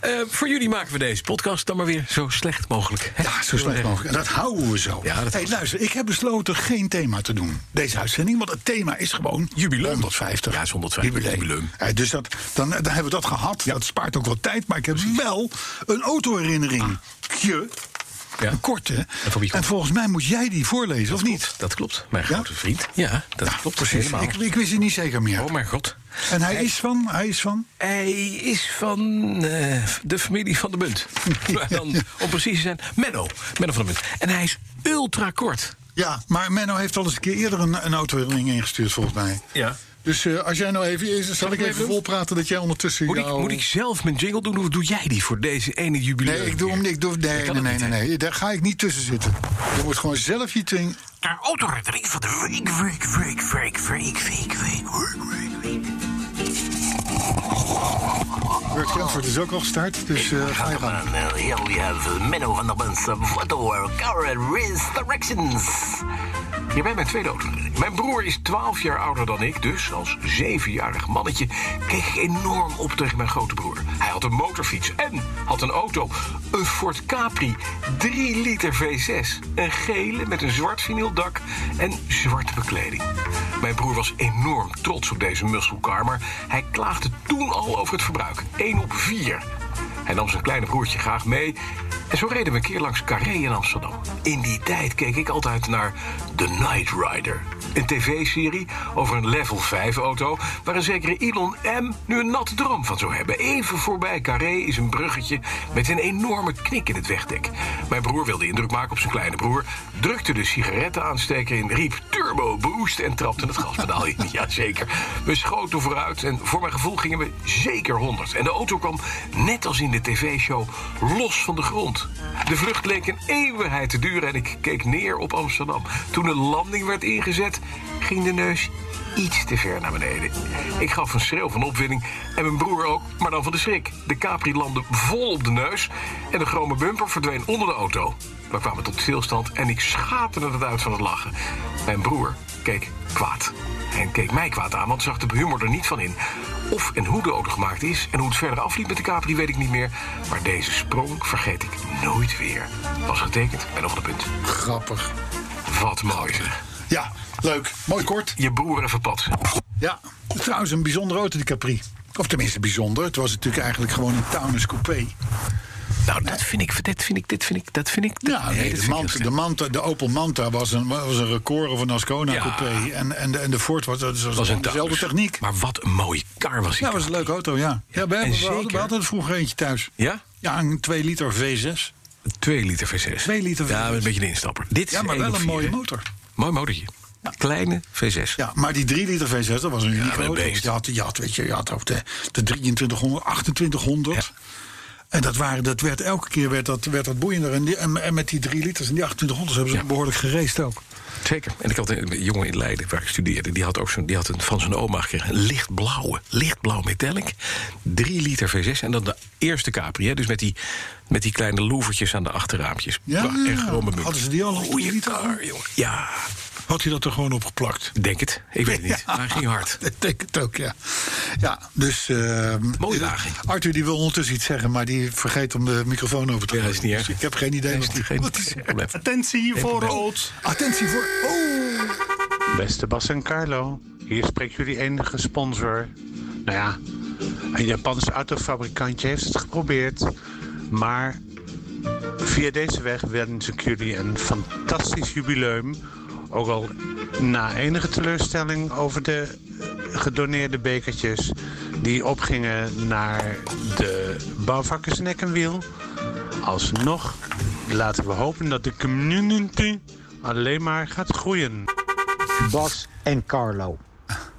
[SPEAKER 3] Eh, voor jullie maken we deze podcast dan maar weer zo slecht mogelijk. hè?
[SPEAKER 2] Ja, zo slecht mogelijk. En dat houden we zo.
[SPEAKER 3] Ja, dat
[SPEAKER 2] hey,
[SPEAKER 3] was-
[SPEAKER 2] luister, ik heb besloten geen thema te doen. Deze uitzending, want het thema is gewoon...
[SPEAKER 3] Jubileum.
[SPEAKER 2] 150.
[SPEAKER 3] Ja, is 150, jubileum.
[SPEAKER 2] Hey, dus dat, dan, dan hebben we dat gehad. Dat spaart ook wat tijd. Maar ik heb wel een autoherinnering. Je,
[SPEAKER 3] Ja.
[SPEAKER 2] Een korte.
[SPEAKER 3] Ah. En voor wie komt-
[SPEAKER 2] En volgens mij moet jij die voorlezen, of niet?
[SPEAKER 3] Klopt, Dat klopt. Mijn
[SPEAKER 2] Ja?
[SPEAKER 3] grote vriend. Ja, dat
[SPEAKER 2] Ja,
[SPEAKER 3] klopt.
[SPEAKER 2] precies.
[SPEAKER 3] Helemaal.
[SPEAKER 2] Ik, ik wist het niet zeker meer.
[SPEAKER 3] Oh mijn god.
[SPEAKER 2] en hij is van? Hij is van?
[SPEAKER 3] Hij is van eh, de familie van de Munt. Maar dan, om precies te zijn, Menno. Menno van de Munt. En hij is ultra kort.
[SPEAKER 2] Ja, maar Menno heeft al eens een keer eerder een, een autoherinnering ingestuurd, volgens mij.
[SPEAKER 3] Ja.
[SPEAKER 2] Dus eh, als jij nou even... Zal, ik
[SPEAKER 3] hem
[SPEAKER 2] even,
[SPEAKER 3] even doen?
[SPEAKER 2] volpraten dat jij ondertussen...
[SPEAKER 3] Moet, ik,
[SPEAKER 2] jouw-
[SPEAKER 3] moet ik zelf mijn jingle doen of doe jij die voor deze ene jubileum?
[SPEAKER 2] Nee, ik doe hem
[SPEAKER 3] hier?
[SPEAKER 2] niet. Ik doe, nee, nee,
[SPEAKER 3] kan het
[SPEAKER 2] nee,
[SPEAKER 3] niet,
[SPEAKER 2] nee, nee. Daar ga ik niet tussen zitten. Je moet gewoon zelf je ding...
[SPEAKER 11] Naar autoherinnering van de week, week, week, week, week, week, week, week, week, week.
[SPEAKER 2] Bert Kempfert is ook al gestart, dus eh, ga je gang.
[SPEAKER 11] And uh, here we have uh, Menno van der Bens uh, Photo Current Resurrections.
[SPEAKER 3] Hierbij mijn tweede auto. Mijn broer is 12 jaar ouder dan ik, dus als zevenjarig mannetje keek ik enorm op tegen mijn grote broer. Hij had een motorfiets en had een auto. Een Ford Capri 3 liter V6. Een gele met een zwart vinyldak en zwarte bekleding. Mijn broer was enorm trots op deze muscle car, maar hij klaagde toen al over het verbruik. 1 op 4. Hij nam zijn kleine broertje graag mee. En zo reden we een keer langs Carré in Amsterdam. In die tijd keek ik altijd naar The Night Rider. Een tv-serie over een level 5-auto... waar een zekere Elon M. nu een natte droom van zou hebben. Even voorbij Carré is een bruggetje met een enorme knik in het wegdek. Mijn broer wilde indruk maken op zijn kleine broer... drukte de sigarettenaansteker in, riep turbo boost... en trapte het gaspedaal in. Jazeker. We schoten vooruit en voor mijn gevoel gingen we zeker 100. En de auto kwam, net als in de tv-show, los van de grond. De vlucht leek een eeuwigheid te duren en ik keek neer op Amsterdam. Toen de landing werd ingezet, ging de neus iets te ver naar beneden. Ik gaf een schreeuw van opwinding en mijn broer ook, maar dan van de schrik. De Capri landde vol op de neus en de chrome bumper verdween onder de auto. We kwamen tot stilstand en ik schaterde het uit van het lachen. Mijn broer keek kwaad en keek mij kwaad aan, want zag de humor er niet van in. Of en hoe de auto gemaakt is en hoe het verder afliep met de Capri weet ik niet meer. Maar deze sprong vergeet ik nooit weer. Was getekend bij nog een punt.
[SPEAKER 2] Grappig.
[SPEAKER 3] Wat mooi zeg.
[SPEAKER 2] Ja, leuk. Mooi kort.
[SPEAKER 3] Je broer even patsen.
[SPEAKER 2] Ja. Trouwens, een bijzondere auto, die Capri. Of tenminste, bijzonder. Het was natuurlijk eigenlijk gewoon een Taunus Coupé.
[SPEAKER 3] Nou, dat vind ik, dit vind ik, dit vind ik, dat vind ik. dat-
[SPEAKER 2] Ja,
[SPEAKER 3] nee,
[SPEAKER 2] nee,
[SPEAKER 3] dat
[SPEAKER 2] de,
[SPEAKER 3] vind ik
[SPEAKER 2] Manta,
[SPEAKER 3] heel
[SPEAKER 2] de, Manta, de Opel Manta was een, was een record of een Ascona
[SPEAKER 3] Ja.
[SPEAKER 2] coupé. En, en, de, en de Ford was, was,
[SPEAKER 3] slecht. was een
[SPEAKER 2] dezelfde
[SPEAKER 3] Taurus.
[SPEAKER 2] techniek.
[SPEAKER 3] Maar wat een mooie kar was die.
[SPEAKER 2] Ja, was een leuke auto, ja. ja, we, hebben,
[SPEAKER 3] en
[SPEAKER 2] we, hadden, we
[SPEAKER 3] zeker-
[SPEAKER 2] hadden er vroeger eentje thuis.
[SPEAKER 3] Ja?
[SPEAKER 2] Ja, een 2 liter V6.
[SPEAKER 3] 2 liter V6.
[SPEAKER 2] 2 liter
[SPEAKER 3] Ja,
[SPEAKER 2] V6.
[SPEAKER 3] een beetje een instapper. Dit
[SPEAKER 2] Ja,
[SPEAKER 3] is
[SPEAKER 2] maar
[SPEAKER 3] 1
[SPEAKER 2] wel
[SPEAKER 3] op
[SPEAKER 2] een
[SPEAKER 3] 4,
[SPEAKER 2] mooie
[SPEAKER 3] hè?
[SPEAKER 2] motor.
[SPEAKER 3] Mooi motortje. Kleine V6.
[SPEAKER 2] Ja, maar die 3 liter V6, dat was een unieke
[SPEAKER 3] een
[SPEAKER 2] auto.
[SPEAKER 3] beest.
[SPEAKER 2] Je had, je had, weet je, je had ook de, de 2300, 2800. En dat, waren, dat werd elke keer werd dat, werd dat boeiender. En, die- en, en met die 3 liters en die 2800 hebben ze behoorlijk gereisd ook.
[SPEAKER 3] Zeker. En ik had een jongen in Leiden waar ik studeerde. Die had, ook zo'n, die had een, van zijn oma gekregen een lichtblauwe, lichtblauw metallic. 3 liter V6. En dan de eerste Capri. Hè? Dus met die, met die kleine loevertjes aan de achterraampjes.
[SPEAKER 2] Ja,
[SPEAKER 3] Bah, en gromme munt.
[SPEAKER 2] hadden ze die al op
[SPEAKER 3] Goeie
[SPEAKER 2] die liter al?
[SPEAKER 3] kar, jongen. Ja,
[SPEAKER 2] Had hij dat er gewoon op geplakt?
[SPEAKER 3] denk het. Ik weet het niet. Maar hij ging hard.
[SPEAKER 2] Ik denk het ook, ja. Ja, dus... ehm,
[SPEAKER 3] Mooie wagen.
[SPEAKER 2] Arthur die wil ondertussen iets zeggen, maar die vergeet om de microfoon over te
[SPEAKER 3] Ja, dat is niet
[SPEAKER 2] Dus
[SPEAKER 3] erg.
[SPEAKER 2] ik heb geen idee
[SPEAKER 3] Nee,
[SPEAKER 2] wat
[SPEAKER 3] is
[SPEAKER 2] die...
[SPEAKER 3] geen-
[SPEAKER 2] wat die
[SPEAKER 3] geen
[SPEAKER 2] zegt.
[SPEAKER 3] probleem.
[SPEAKER 12] Attentie voor rood.
[SPEAKER 2] Attentie voor... Oh!
[SPEAKER 12] Beste Bas en Carlo, hier spreekt jullie enige sponsor. Nou ja, een Japans autofabrikantje heeft het geprobeerd. Maar via deze weg wens ik jullie een fantastisch jubileum. Ook al na enige teleurstelling over de gedoneerde bekertjes... die opgingen naar de bouwvakkers Nek en Wiel. Alsnog laten we hopen dat de community alleen maar gaat groeien.
[SPEAKER 13] Bas en Carlo.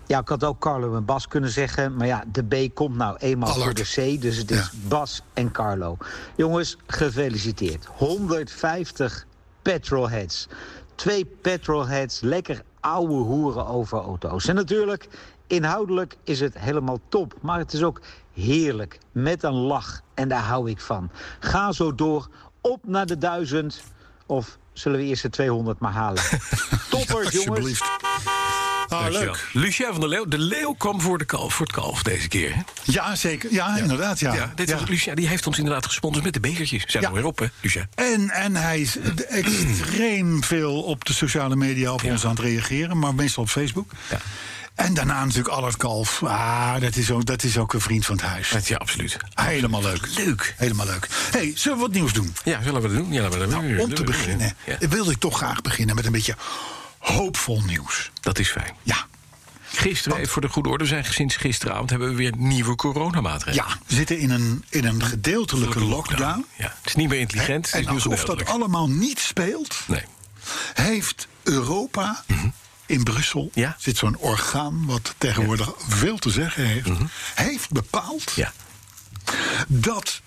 [SPEAKER 13] Ja, ik had ook Carlo en Bas kunnen zeggen. Maar ja, de B komt nou eenmaal
[SPEAKER 2] Allard.
[SPEAKER 13] voor de C. Dus het is
[SPEAKER 2] Ja.
[SPEAKER 13] Bas en Carlo. Jongens, gefeliciteerd. 150 petrolheads. Twee petrolheads, lekker ouwe hoeren over auto's. En natuurlijk, inhoudelijk is het helemaal top. Maar het is ook heerlijk, met een lach. En daar hou ik van. Ga zo door, op naar de duizend. Of zullen we eerst de 200 maar halen? Toppers, jongens.
[SPEAKER 2] Alsjeblieft. Ah,
[SPEAKER 3] Dankjewel.
[SPEAKER 2] leuk.
[SPEAKER 3] Lucien van der Leeuw. De leeuw kwam voor, de kalf, voor het kalf deze keer. Hè?
[SPEAKER 2] Ja, Ah, zeker. Ja, inderdaad, ja.
[SPEAKER 3] Ja, dit
[SPEAKER 2] Ja.
[SPEAKER 3] Was, Lucia, die heeft ons inderdaad gesponsord met de bekertjes. Zijn
[SPEAKER 2] Ja.
[SPEAKER 3] er weer op, hè, Lucia?
[SPEAKER 2] En, en hij is extreem veel op de sociale media op ons aan het reageren, maar meestal op Facebook.
[SPEAKER 3] Ja.
[SPEAKER 2] En daarna natuurlijk Allard Kalf. Ah, dat is, ook, dat is ook een vriend van het huis.
[SPEAKER 3] Dat- Ja, absoluut.
[SPEAKER 2] Helemaal leuk.
[SPEAKER 3] Leuk.
[SPEAKER 2] Helemaal leuk. hey, zullen we wat nieuws doen? Nou,
[SPEAKER 3] Ja, zullen we dat doen? Ja, laten we dat doen.
[SPEAKER 2] Om te beginnen eh,
[SPEAKER 3] Ja,
[SPEAKER 2] wilde ik toch graag beginnen met een beetje hoopvol nieuws.
[SPEAKER 3] dat is fijn.
[SPEAKER 2] Ja,
[SPEAKER 3] Gisteren, even voor de goede orde, zijn sinds gisteravond hebben we weer nieuwe coronamaatregelen.
[SPEAKER 2] ja. we zitten in een, in een gedeeltelijke lockdown.
[SPEAKER 3] Ja, het is niet meer intelligent. het
[SPEAKER 2] En
[SPEAKER 3] is nu
[SPEAKER 2] alsof dat
[SPEAKER 3] gedeeltelijk.
[SPEAKER 2] allemaal niet speelt,
[SPEAKER 3] Nee. Mhm.
[SPEAKER 2] heeft Europa in Brussel
[SPEAKER 3] Ja.
[SPEAKER 2] zit zo'n orgaan wat tegenwoordig veel te zeggen heeft, heeft bepaald
[SPEAKER 3] Mhm. Ja.
[SPEAKER 2] dat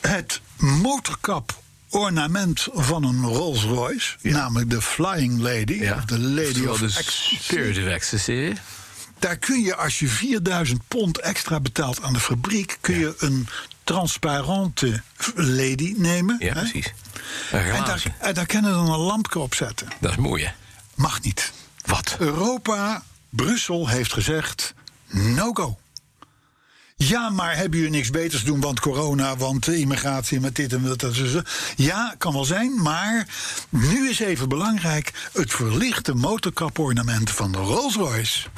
[SPEAKER 2] het motorkap ornament van een Rolls Royce, namelijk de Flying Lady,
[SPEAKER 3] ja.
[SPEAKER 2] of de Lady
[SPEAKER 3] Oftewel
[SPEAKER 2] of
[SPEAKER 3] de
[SPEAKER 2] Ecstasy,
[SPEAKER 3] Spirit of Ecstasy.
[SPEAKER 2] daar kun je als je 4000 pond extra betaalt aan de fabriek, kun je een transparante lady nemen.
[SPEAKER 3] Ja,
[SPEAKER 2] hè?
[SPEAKER 3] precies.
[SPEAKER 2] En daar,
[SPEAKER 3] Glazen.
[SPEAKER 2] en daar kunnen we dan een lampje op zetten.
[SPEAKER 3] Dat is mooi, hè?
[SPEAKER 2] Mag niet.
[SPEAKER 3] Wat?
[SPEAKER 2] Europa, Brussel heeft gezegd: no go. Ja, maar hebben jullie niks beters doen? Want corona, want eh, immigratie, met dit en dat. dat, dat, dat. Ja, kan wel zijn, maar nu is even belangrijk: het verlichte motorkapornament van de Rolls-Royce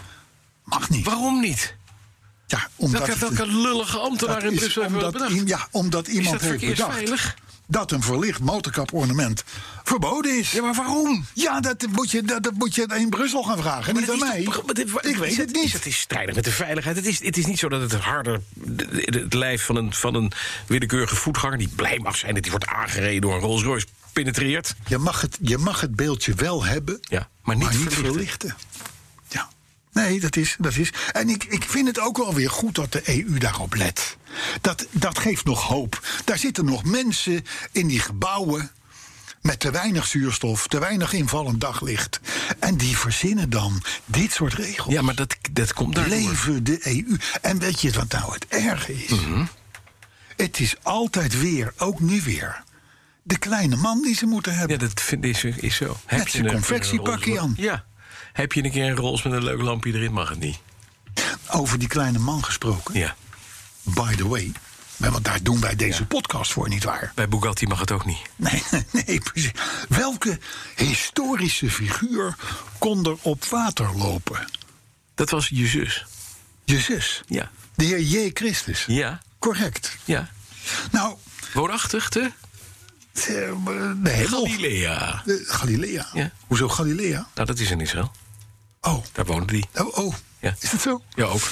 [SPEAKER 2] mag niet.
[SPEAKER 3] Waarom niet?
[SPEAKER 2] Ja, omdat
[SPEAKER 3] Welke,
[SPEAKER 2] het-
[SPEAKER 3] welke lullige ambtenaar
[SPEAKER 2] dat
[SPEAKER 3] in
[SPEAKER 2] is
[SPEAKER 3] Brussel heeft dat
[SPEAKER 2] omdat,
[SPEAKER 3] bedacht?
[SPEAKER 2] i- Ja, omdat iemand
[SPEAKER 3] dat
[SPEAKER 2] heeft bedacht
[SPEAKER 3] verkeersveilig?
[SPEAKER 2] dat een verlicht motorkapornament verboden is.
[SPEAKER 3] Ja, maar waarom?
[SPEAKER 2] Ja, dat moet je, dat, dat moet je in Brussel gaan vragen, niet aan
[SPEAKER 3] dat is
[SPEAKER 2] mij.
[SPEAKER 3] toch- maar dit-
[SPEAKER 2] ik
[SPEAKER 3] is
[SPEAKER 2] weet het
[SPEAKER 3] is- Het
[SPEAKER 2] niet.
[SPEAKER 3] is strijdig met de veiligheid. Het is, het is niet zo dat het harder de- de- het lijf van een, van een willekeurige voetganger... die blij mag zijn dat hij wordt aangereden door een Rolls-Royce... penetreert.
[SPEAKER 2] Je mag, het, je mag het beeldje wel hebben,
[SPEAKER 3] Ja, maar niet verlichten.
[SPEAKER 2] Ja. Nee, dat is. Dat is. En ik, ik vind het ook wel weer goed dat de EU daarop let. Dat, dat geeft nog hoop. Daar zitten nog mensen in die gebouwen. Met te weinig zuurstof, te weinig invallend daglicht. En die verzinnen dan dit soort regels.
[SPEAKER 3] Ja, maar dat, dat komt daardoor.
[SPEAKER 2] Leven de EU. En weet je wat nou het erge is?
[SPEAKER 3] Mhm.
[SPEAKER 2] Het is altijd weer, ook nu weer, de kleine man die ze moeten hebben.
[SPEAKER 3] Ja, dat vind is, is zo.
[SPEAKER 2] Met zijn
[SPEAKER 3] een- eh,
[SPEAKER 2] confectiepakje
[SPEAKER 3] een Rolls-
[SPEAKER 2] aan.
[SPEAKER 3] Ja. Heb je een keer een Rolls met een leuk lampje erin, mag het niet.
[SPEAKER 2] Over die kleine man gesproken.
[SPEAKER 3] Ja.
[SPEAKER 2] By the way. Maar Want daar doen wij deze podcast voor, nietwaar?
[SPEAKER 3] Bij Bugatti mag het ook niet.
[SPEAKER 2] Nee, nee, precies. Welke historische figuur kon er op water lopen?
[SPEAKER 3] Dat was je zus.
[SPEAKER 2] Je zus.
[SPEAKER 3] Ja.
[SPEAKER 2] De heer J. Christus.
[SPEAKER 3] Ja.
[SPEAKER 2] Correct.
[SPEAKER 3] Ja.
[SPEAKER 2] Nou, eh,
[SPEAKER 3] Woonachtig te?
[SPEAKER 2] de hemel.
[SPEAKER 3] Galilea.
[SPEAKER 2] De- Galilea.
[SPEAKER 3] Ja.
[SPEAKER 2] Hoezo Galilea?
[SPEAKER 3] Nou, dat is in Israël.
[SPEAKER 2] Oh.
[SPEAKER 3] Daar woonde die.
[SPEAKER 2] Oh, oh.
[SPEAKER 3] Ja.
[SPEAKER 2] is dat zo?
[SPEAKER 3] Ja, ook.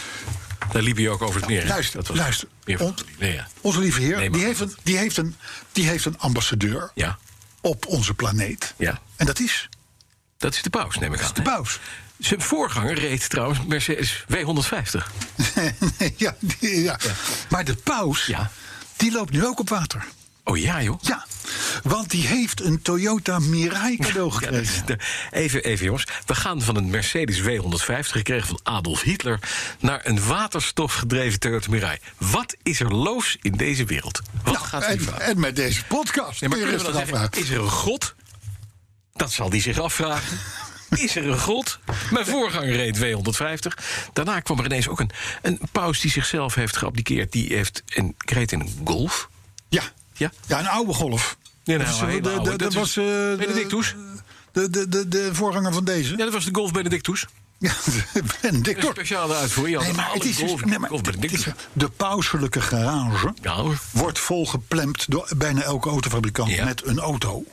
[SPEAKER 3] Daar liep hij ook over het meer. hè?
[SPEAKER 2] Luister,
[SPEAKER 3] dat was
[SPEAKER 2] luister.
[SPEAKER 3] Meer van
[SPEAKER 2] Ont-
[SPEAKER 3] Galilea.
[SPEAKER 2] Onze lieve heer,
[SPEAKER 3] Nee, maar-
[SPEAKER 2] die, heeft een, die, heeft een, die heeft een ambassadeur
[SPEAKER 3] Ja,
[SPEAKER 2] op onze planeet.
[SPEAKER 3] ja.
[SPEAKER 2] En dat is
[SPEAKER 3] Dat is de paus, neem ik aan.
[SPEAKER 2] de
[SPEAKER 3] hè?
[SPEAKER 2] paus.
[SPEAKER 3] Zijn voorganger reed trouwens Mercedes W150.
[SPEAKER 2] ja, die- ja. Maar de paus,
[SPEAKER 3] Ja.
[SPEAKER 2] die loopt nu ook op water.
[SPEAKER 3] Oh ja, joh.
[SPEAKER 2] Ja, want die heeft een Toyota Mirai cadeau
[SPEAKER 3] Ja, dat is
[SPEAKER 2] gekregen.
[SPEAKER 3] de- even, even jongens. We gaan van een Mercedes W150, gekregen van Adolf Hitler... naar een waterstofgedreven Toyota Mirai. Wat is er los in deze wereld? Wat gaat er hier
[SPEAKER 2] Nou, en,
[SPEAKER 3] fout?
[SPEAKER 2] en met deze podcast.
[SPEAKER 3] Nee, maar
[SPEAKER 2] kun je
[SPEAKER 3] kunnen we dan
[SPEAKER 2] rustig
[SPEAKER 3] zeggen,
[SPEAKER 2] afvragen.
[SPEAKER 3] is er een god? Dat zal die zich afvragen. Is er een god? Mijn voorganger reed 250. Daarna kwam er ineens ook een, een paus die zichzelf heeft geabdikeerd. Die heeft een, reed in een golf.
[SPEAKER 2] Ja.
[SPEAKER 3] Ja?
[SPEAKER 2] ja, een oude golf.
[SPEAKER 3] Ja, nou,
[SPEAKER 2] Dat is,
[SPEAKER 3] een hele
[SPEAKER 2] de- de-
[SPEAKER 3] oude.
[SPEAKER 2] dat
[SPEAKER 3] Dat is
[SPEAKER 2] was, eh, de-
[SPEAKER 3] Benedictus.
[SPEAKER 2] De, de, de, de voorganger van deze.
[SPEAKER 3] Ja, dat was de Golf Benedictus.
[SPEAKER 2] Ja, ben dik
[SPEAKER 3] Een
[SPEAKER 2] door.
[SPEAKER 3] speciale uitvoering. Je had
[SPEAKER 2] Nee, maar
[SPEAKER 3] alle
[SPEAKER 2] het is dus-
[SPEAKER 3] Golf-
[SPEAKER 2] nee, maar
[SPEAKER 3] Golf
[SPEAKER 2] het- het
[SPEAKER 3] Benedictus.
[SPEAKER 2] is- De pauselijke garage
[SPEAKER 3] Ja, hoor.
[SPEAKER 2] wordt volgeplemd door bijna elke autofabrikant
[SPEAKER 3] Ja. Mhm.
[SPEAKER 2] met een auto.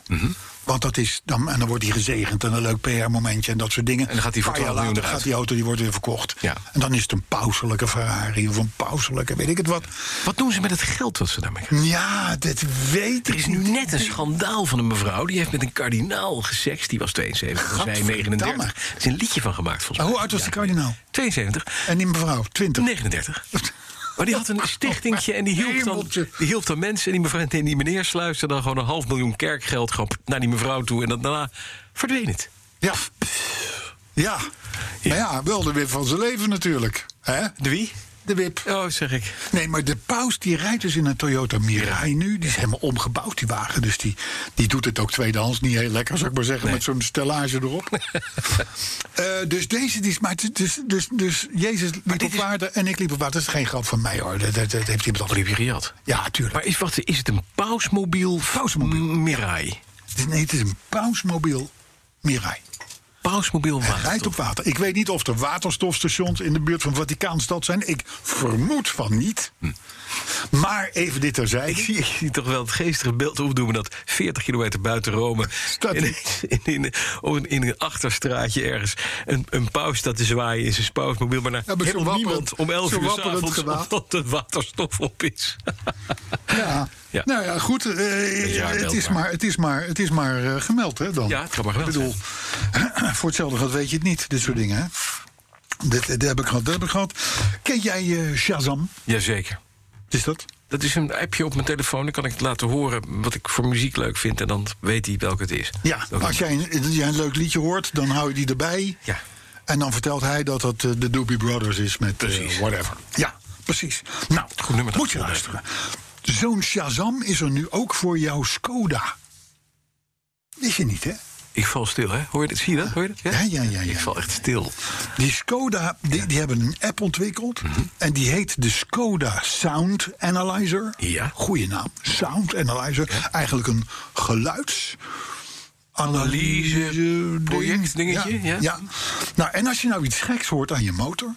[SPEAKER 2] Want dat is dan, en dan wordt die gezegend en een leuk PR-momentje en dat soort dingen.
[SPEAKER 3] En dan gaat die
[SPEAKER 2] Een
[SPEAKER 3] voor
[SPEAKER 2] paar jaar
[SPEAKER 3] 12
[SPEAKER 2] later
[SPEAKER 3] miljoen eruit.
[SPEAKER 2] gaat die auto die wordt weer verkocht.
[SPEAKER 3] Ja.
[SPEAKER 2] En dan is het een pauselijke Ferrari of een pauselijke weet ik het wat.
[SPEAKER 3] Wat doen ze met het geld wat ze daarmee krijgen?
[SPEAKER 2] Ja, dit weet
[SPEAKER 3] Er
[SPEAKER 2] ik
[SPEAKER 3] is nu net een schandaal van een mevrouw. Die heeft met een kardinaal gesext. Die was 72, zij
[SPEAKER 2] Gadverdamme.
[SPEAKER 3] 39. Er is een liedje van gemaakt volgens mij.
[SPEAKER 2] Hoe oud was die kardinaal?
[SPEAKER 3] 72.
[SPEAKER 2] En die mevrouw, 20.
[SPEAKER 3] 39. Maar die had een stichtingje en die hielp dan,
[SPEAKER 2] Hemeltje.
[SPEAKER 3] die hielp dan mensen. En die, mevrouw, en die meneer sluiste dan gewoon een half miljoen kerkgeld gewoon naar die mevrouw toe. En dan daarna verdween het.
[SPEAKER 2] Ja. Ja. Maar ja, wel de wip van zijn leven natuurlijk. hè?
[SPEAKER 3] De wie?
[SPEAKER 2] De wip.
[SPEAKER 3] Oh, zeg ik.
[SPEAKER 2] Nee, maar de paus die rijdt dus in een Toyota Mirai nu. Die is helemaal omgebouwd, die wagen. Dus die, die doet het ook tweedehands niet heel lekker, zou ik maar zeggen. Met zo'n stellage erop. Eh, dus deze, die is maar... t- Dus, dus, dus Jezus liep op
[SPEAKER 3] dit is-
[SPEAKER 2] water en ik liep op water. Dat is geen grap van mij, hoor. Dat, dat, dat heeft iemand
[SPEAKER 3] Oh, die
[SPEAKER 2] anders.
[SPEAKER 3] heb je gehad.
[SPEAKER 2] Ja, tuurlijk.
[SPEAKER 3] Maar is, wat, is het een pausmobiel?
[SPEAKER 2] Pausmobiel.
[SPEAKER 3] M- Mirai.
[SPEAKER 2] Het is- Nee, het is een pausmobiel Mirai.
[SPEAKER 3] Pausmobiel
[SPEAKER 2] Hij rijdt op
[SPEAKER 3] waterstof.
[SPEAKER 2] water. Ik weet niet of er waterstofstations in de buurt van Vaticaanstad zijn. Ik vermoed van niet.
[SPEAKER 3] Hm.
[SPEAKER 2] Maar even dit terzijde.
[SPEAKER 3] Ik zie, ik zie toch wel het geestige beeld opdoemen dat 40 kilometer buiten Rome.
[SPEAKER 2] Staat
[SPEAKER 3] in,
[SPEAKER 2] iets.
[SPEAKER 3] in, in, in, in een achterstraatje ergens. Een, een paus dat te zwaaien in zijn pausmobiel. Maar daar
[SPEAKER 2] Ja, maar zo
[SPEAKER 3] helemaal
[SPEAKER 2] wapperend-
[SPEAKER 3] niemand om 11
[SPEAKER 2] zo
[SPEAKER 3] uur 's
[SPEAKER 2] wapperend
[SPEAKER 3] avonds
[SPEAKER 2] gewaad.
[SPEAKER 3] omdat het waterstof op is.
[SPEAKER 2] Ja.
[SPEAKER 3] Ja.
[SPEAKER 2] Nou ja, goed. eh,
[SPEAKER 3] jaar
[SPEAKER 2] het, is
[SPEAKER 3] meldbaar.
[SPEAKER 2] maar, het is maar, het is maar eh, gemeld, hè, dan?
[SPEAKER 3] Ja, het kan maar gemeld
[SPEAKER 2] Ik bedoel, voor hetzelfde geld weet je het niet, dit soort dingen, hè? Dit, dit heb ik gehad, dat heb ik gehad. Ken jij eh, Shazam?
[SPEAKER 3] Jazeker.
[SPEAKER 2] Wat is dat?
[SPEAKER 3] Dat is een appje op mijn telefoon. Dan kan ik het laten horen wat ik voor muziek leuk vind. En dan weet hij welke het is.
[SPEAKER 2] Ja,
[SPEAKER 3] Welke
[SPEAKER 2] als jij een, als jij een leuk liedje hoort, dan hou je die erbij.
[SPEAKER 3] Ja.
[SPEAKER 2] En dan vertelt hij dat dat eh, de Doobie Brothers is met eh,
[SPEAKER 3] Precies.
[SPEAKER 2] whatever. Ja, precies. Nou,
[SPEAKER 3] Goed nummer dat
[SPEAKER 2] moet je
[SPEAKER 3] we
[SPEAKER 2] luisteren. Zo'n Shazam is er nu ook voor jouw Skoda. Wist je niet, hè?
[SPEAKER 3] Ik val stil, hè? Hoor je dat? Zie je dat? Hoor je dat?
[SPEAKER 2] Ja, ja, ja, ja.
[SPEAKER 3] Ik val echt stil.
[SPEAKER 2] Die Skoda, die, die hebben een app ontwikkeld.
[SPEAKER 3] Mhm.
[SPEAKER 2] En die heet de Skoda Sound Analyzer.
[SPEAKER 3] Ja.
[SPEAKER 2] Goeie naam. Sound Analyzer. Eigenlijk een geluids...
[SPEAKER 3] Analyse,
[SPEAKER 2] ding.
[SPEAKER 3] project dingetje, ja.
[SPEAKER 2] ja. Nou, en als je nou iets geks hoort aan je motor...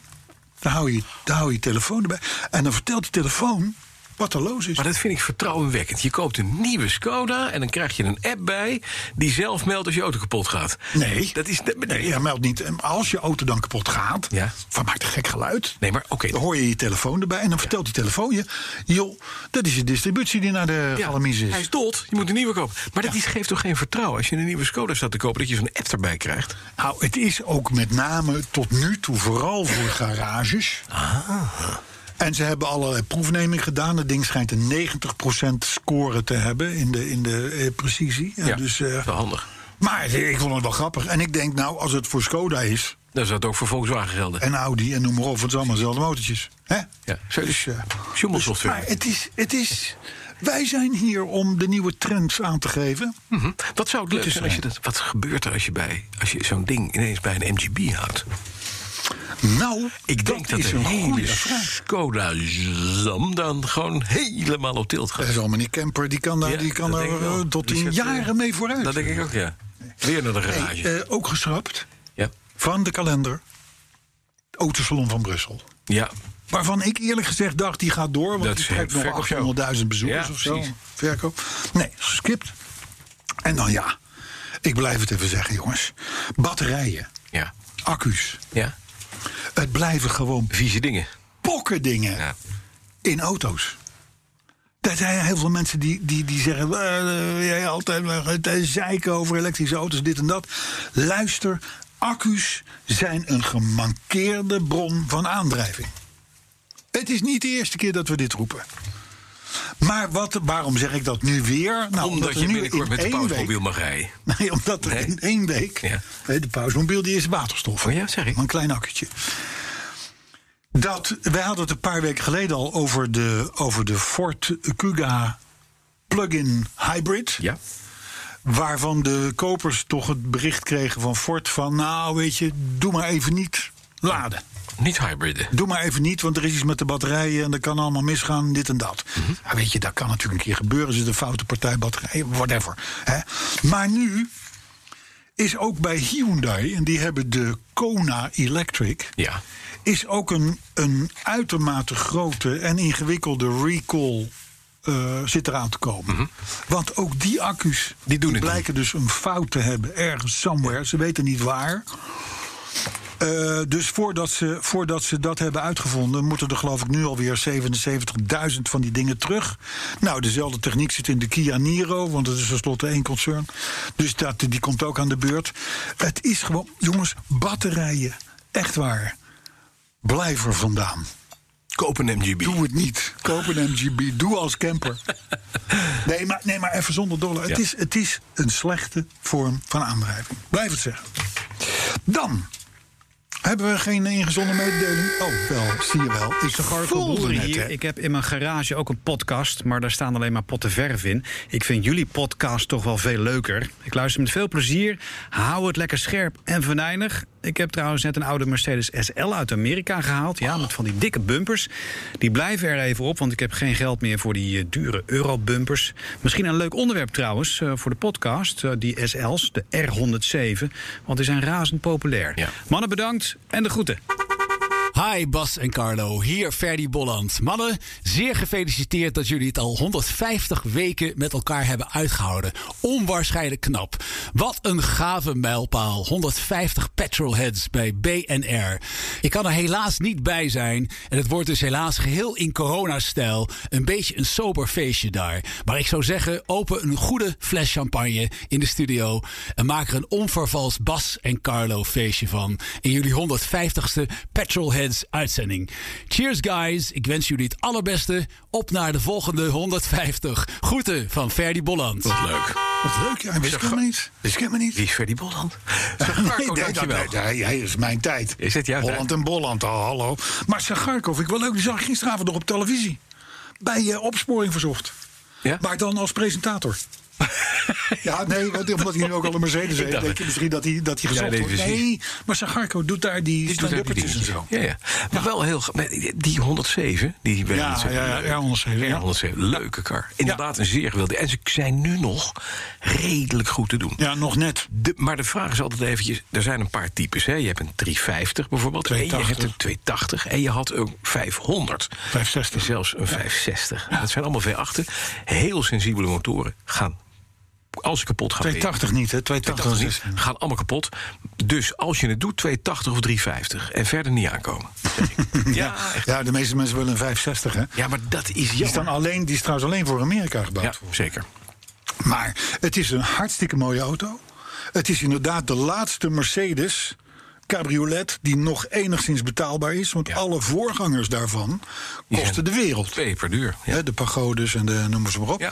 [SPEAKER 2] dan hou je dan hou je telefoon erbij. En dan vertelt de telefoon wat er los is.
[SPEAKER 3] Maar dat vind ik vertrouwenwekkend. Je koopt een nieuwe Skoda en dan krijg je een app bij... die zelf meldt als je auto kapot gaat.
[SPEAKER 2] Nee.
[SPEAKER 3] Dat is... Nee,
[SPEAKER 2] Nee, hij meldt niet. En Als je auto dan kapot gaat,
[SPEAKER 3] Ja.
[SPEAKER 2] van maakt een gek geluid.
[SPEAKER 3] Nee, maar oké.
[SPEAKER 2] Dan hoor je je telefoon erbij en dan vertelt die telefoon je... joh, dat is de distributie die naar de
[SPEAKER 3] Ja,
[SPEAKER 2] galamise is.
[SPEAKER 3] hij is dood, je moet een nieuwe kopen. Maar dat is- geeft toch geen vertrouwen als je een nieuwe Skoda staat te kopen... dat je zo'n app erbij krijgt?
[SPEAKER 2] Nou, het is ook met name tot nu toe vooral voor garages.
[SPEAKER 3] Ah.
[SPEAKER 2] En ze hebben allerlei proefneming gedaan. Het ding schijnt een 90% score te hebben in de, in de eh, precisie. En
[SPEAKER 3] Ja,
[SPEAKER 2] dus, eh,
[SPEAKER 3] dat is wel handig.
[SPEAKER 2] maar ik vond het wel grappig. En ik denk, nou, als het voor Skoda is
[SPEAKER 3] Dan zou het ook voor Volkswagen gelden.
[SPEAKER 2] en Audi en noem maar op... want het zijn allemaal dezelfde motortjes. Hè?
[SPEAKER 3] Ja, Dus zo is
[SPEAKER 2] eh,
[SPEAKER 3] Schommelsoftware.
[SPEAKER 2] Maar het is, het is... Wij zijn hier om de nieuwe trends aan te geven.
[SPEAKER 3] Mhm. Wat zou het leuk
[SPEAKER 2] is
[SPEAKER 3] zijn als je dat... Wat gebeurt er als je, bij, als je zo'n ding ineens bij een MGB houdt?
[SPEAKER 2] Nou,
[SPEAKER 3] Ik denk dat,
[SPEAKER 2] is
[SPEAKER 3] de
[SPEAKER 2] een
[SPEAKER 3] hele
[SPEAKER 2] goede vraag.
[SPEAKER 3] Skoda Zam dan gewoon helemaal op tilt gaat.
[SPEAKER 2] Dat is al meneer Kemper, die kan daar,
[SPEAKER 3] Ja,
[SPEAKER 2] Eh, die kan
[SPEAKER 3] dat
[SPEAKER 2] daar
[SPEAKER 3] denk ik wel.
[SPEAKER 2] eh, tot
[SPEAKER 3] Die
[SPEAKER 2] in
[SPEAKER 3] zit, eh,
[SPEAKER 2] jaren mee vooruit.
[SPEAKER 3] Dat denk ik ook, ja. Weer naar de garage.
[SPEAKER 2] Eh, ook geschrapt
[SPEAKER 3] ja.
[SPEAKER 2] van de kalender. Autosalon van Brussel.
[SPEAKER 3] ja,
[SPEAKER 2] Waarvan ik eerlijk gezegd dacht, die gaat door. Want
[SPEAKER 3] Dat
[SPEAKER 2] die
[SPEAKER 3] is
[SPEAKER 2] trekt
[SPEAKER 3] verkoopshow.
[SPEAKER 2] nog 800.000 bezoekers
[SPEAKER 3] Ja,
[SPEAKER 2] of zo.
[SPEAKER 3] precies.
[SPEAKER 2] Verkoop. Nee, geskipt. En dan ja, ik blijf het even zeggen, jongens. Batterijen,
[SPEAKER 3] Ja.
[SPEAKER 2] accu's.
[SPEAKER 3] Ja.
[SPEAKER 2] Het blijven gewoon
[SPEAKER 3] Vieze dingen.
[SPEAKER 2] pokken dingen
[SPEAKER 3] Ja.
[SPEAKER 2] in auto's. Er zijn heel veel mensen die, die, die zeggen... "Eh, jij altijd maar het eh, zeiken over elektrische auto's, dit en dat. Luister, accu's zijn een gemankeerde bron van aandrijving. Het is niet de eerste keer dat we dit roepen. Maar wat, waarom zeg ik dat nu weer? Nou,
[SPEAKER 3] Omdat
[SPEAKER 2] er
[SPEAKER 3] je
[SPEAKER 2] nu
[SPEAKER 3] binnenkort
[SPEAKER 2] in
[SPEAKER 3] met de
[SPEAKER 2] één
[SPEAKER 3] pausmobiel
[SPEAKER 2] week-
[SPEAKER 3] mag rijden.
[SPEAKER 2] Nee, omdat er
[SPEAKER 3] Nee.
[SPEAKER 2] in één week...
[SPEAKER 3] Ja.
[SPEAKER 2] hè, De pausmobiel die is waterstof.
[SPEAKER 3] Oh ja, zeg ik.
[SPEAKER 2] Maar Een klein akkertje. Dat, wij hadden het een paar weken geleden al over de, over de Ford Kuga plug-in hybrid.
[SPEAKER 3] Ja.
[SPEAKER 2] Waarvan de kopers toch het bericht kregen van Ford van... nou, weet je, doe maar even niet laden.
[SPEAKER 3] Niet hybride.
[SPEAKER 2] Doe maar even niet, want er is iets met de batterijen... en er kan allemaal misgaan, dit en dat.
[SPEAKER 3] Mhm.
[SPEAKER 2] Ja, weet je, dat kan natuurlijk een keer gebeuren. Zit een foute partij batterij, whatever. Hè? Maar nu is ook bij Hyundai... en die hebben de Kona Electric...
[SPEAKER 3] Ja.
[SPEAKER 2] is ook een, een uitermate grote en ingewikkelde recall... eh, zit eraan te komen. Want ook die accu's
[SPEAKER 3] Mhm. Die doen het
[SPEAKER 2] blijken dus een fout te hebben ergens, somewhere. Ze weten niet waar. Eh, dus voordat ze, voordat ze dat hebben uitgevonden, moeten er geloof ik nu alweer 77.000 van die dingen terug. Nou, dezelfde techniek zit in de Kia Niro, want het is tenslotte één concern. Dus dat, die komt ook aan de beurt. Het is gewoon, jongens, batterijen. Echt waar. Blijf er vandaan.
[SPEAKER 3] Koop een MGB.
[SPEAKER 2] Doe het niet. Koop een MGB. Doe als camper. Nee, maar, nee, maar even zonder dollar. Het,
[SPEAKER 3] Ja.
[SPEAKER 2] is, het is een slechte vorm van aandrijving. Blijf het zeggen. Dan hebben we geen ingezonde mededeling. Oh, wel, zie je wel. Ik voelde
[SPEAKER 14] voelde
[SPEAKER 2] net,
[SPEAKER 14] hier.
[SPEAKER 2] hè.
[SPEAKER 14] Ik heb in mijn garage ook een podcast, maar daar staan alleen maar potten verf in. Ik vind jullie podcast toch wel veel leuker. Ik luister met veel plezier. Hou het lekker scherp en venijnig. Ik heb trouwens net een oude Mercedes SL uit Amerika gehaald. Ja, met van die dikke bumpers. Die blijven er even op, want ik heb geen geld meer voor die eh, dure eurobumpers. Misschien een leuk onderwerp trouwens eh, voor de podcast. eh, die SL's, de R107. Want die zijn razend populair.
[SPEAKER 3] Ja.
[SPEAKER 14] Mannen bedankt en de groeten.
[SPEAKER 1] Hi Bas en Carlo, hier Ferdy Bolland. Mannen, zeer gefeliciteerd dat jullie het al 150 weken met elkaar hebben uitgehouden. Onwaarschijnlijk knap. Wat een gave mijlpaal. 150 petrolheads bij BNR. Ik kan er helaas niet bij zijn en het wordt dus helaas geheel in coronastijl een beetje een sober feestje daar. Maar ik zou zeggen, open een goede fles champagne in de studio en maak er een onvervals Bas en Carlo feestje van in jullie 150ste Petrolheads uitzending. Cheers guys, ik wens jullie het allerbeste. Op naar de volgende 150. Groeten van Ferdy Bolland.
[SPEAKER 3] Wat leuk.
[SPEAKER 2] Wat leuk, ja, wist ik helemaal niet. Wist ik helemaal niet.
[SPEAKER 3] Wie is Ferdy Bolland?
[SPEAKER 2] Nee,
[SPEAKER 3] Marco,
[SPEAKER 2] nee,
[SPEAKER 3] dankjewel.
[SPEAKER 2] dat- dat- ja, is mijn tijd.
[SPEAKER 3] Is het jouw
[SPEAKER 2] Holland en Bolland, oh, hallo. Maar Sagarkov, ik wel leuk, die zag ik gisteravond nog op televisie. Bij eh, Opsporing Verzocht.
[SPEAKER 3] Ja?
[SPEAKER 2] Maar dan als presentator. ja, nee, want omdat hij nu ook al een Mercedes
[SPEAKER 3] Ik
[SPEAKER 2] heeft,
[SPEAKER 3] dacht
[SPEAKER 2] denk je
[SPEAKER 3] het.
[SPEAKER 2] misschien dat hij, dat hij
[SPEAKER 3] Ja,
[SPEAKER 2] gezocht
[SPEAKER 3] nee,
[SPEAKER 2] wordt.
[SPEAKER 3] precies.
[SPEAKER 2] Nee, maar Sagarko doet daar die
[SPEAKER 3] Dit doet ook die
[SPEAKER 2] stand-uppertjes en
[SPEAKER 3] dingetjes.
[SPEAKER 2] zo.
[SPEAKER 3] Ja, ja. Maar wel heel... ge- nee, Die 107, die ben
[SPEAKER 2] Ja, ja, ja, R107, ja.
[SPEAKER 3] R107, leuke kar. Inderdaad een zeer geweldige. En ze zijn nu nog redelijk goed te doen.
[SPEAKER 2] Ja, nog net.
[SPEAKER 3] De- maar de vraag is altijd eventjes, er zijn een paar types. Hè? Je hebt een 350 bijvoorbeeld, en je hebt een 280 en je had een 500.
[SPEAKER 2] 560.
[SPEAKER 3] Zelfs een 560. Dat zijn allemaal V8'en. Heel sensibele motoren gaan, als ze kapot gaan...
[SPEAKER 2] 280 niet, hè? 280
[SPEAKER 3] 280
[SPEAKER 2] is
[SPEAKER 3] niet, gaan allemaal kapot. Dus als je het doet, 280 of 350 en verder niet aankomen. zeg ik. ja, echt.
[SPEAKER 2] Ja, de meeste mensen willen een 560, hè?
[SPEAKER 3] ja, maar dat is
[SPEAKER 2] Die is, dan
[SPEAKER 3] jammer.
[SPEAKER 2] alleen, die is trouwens alleen voor Amerika gebouwd.
[SPEAKER 3] Ja, zeker.
[SPEAKER 2] Maar het is een hartstikke mooie auto. Het is inderdaad de laatste Mercedes cabriolet die nog enigszins betaalbaar is. Want
[SPEAKER 3] Ja.
[SPEAKER 2] alle voorgangers daarvan
[SPEAKER 3] Die
[SPEAKER 2] kosten
[SPEAKER 3] zijn
[SPEAKER 2] de wereld.
[SPEAKER 3] Twee per duur. Ja.
[SPEAKER 2] Hè, De pagodes en de noem maar ze maar op.
[SPEAKER 3] Ja.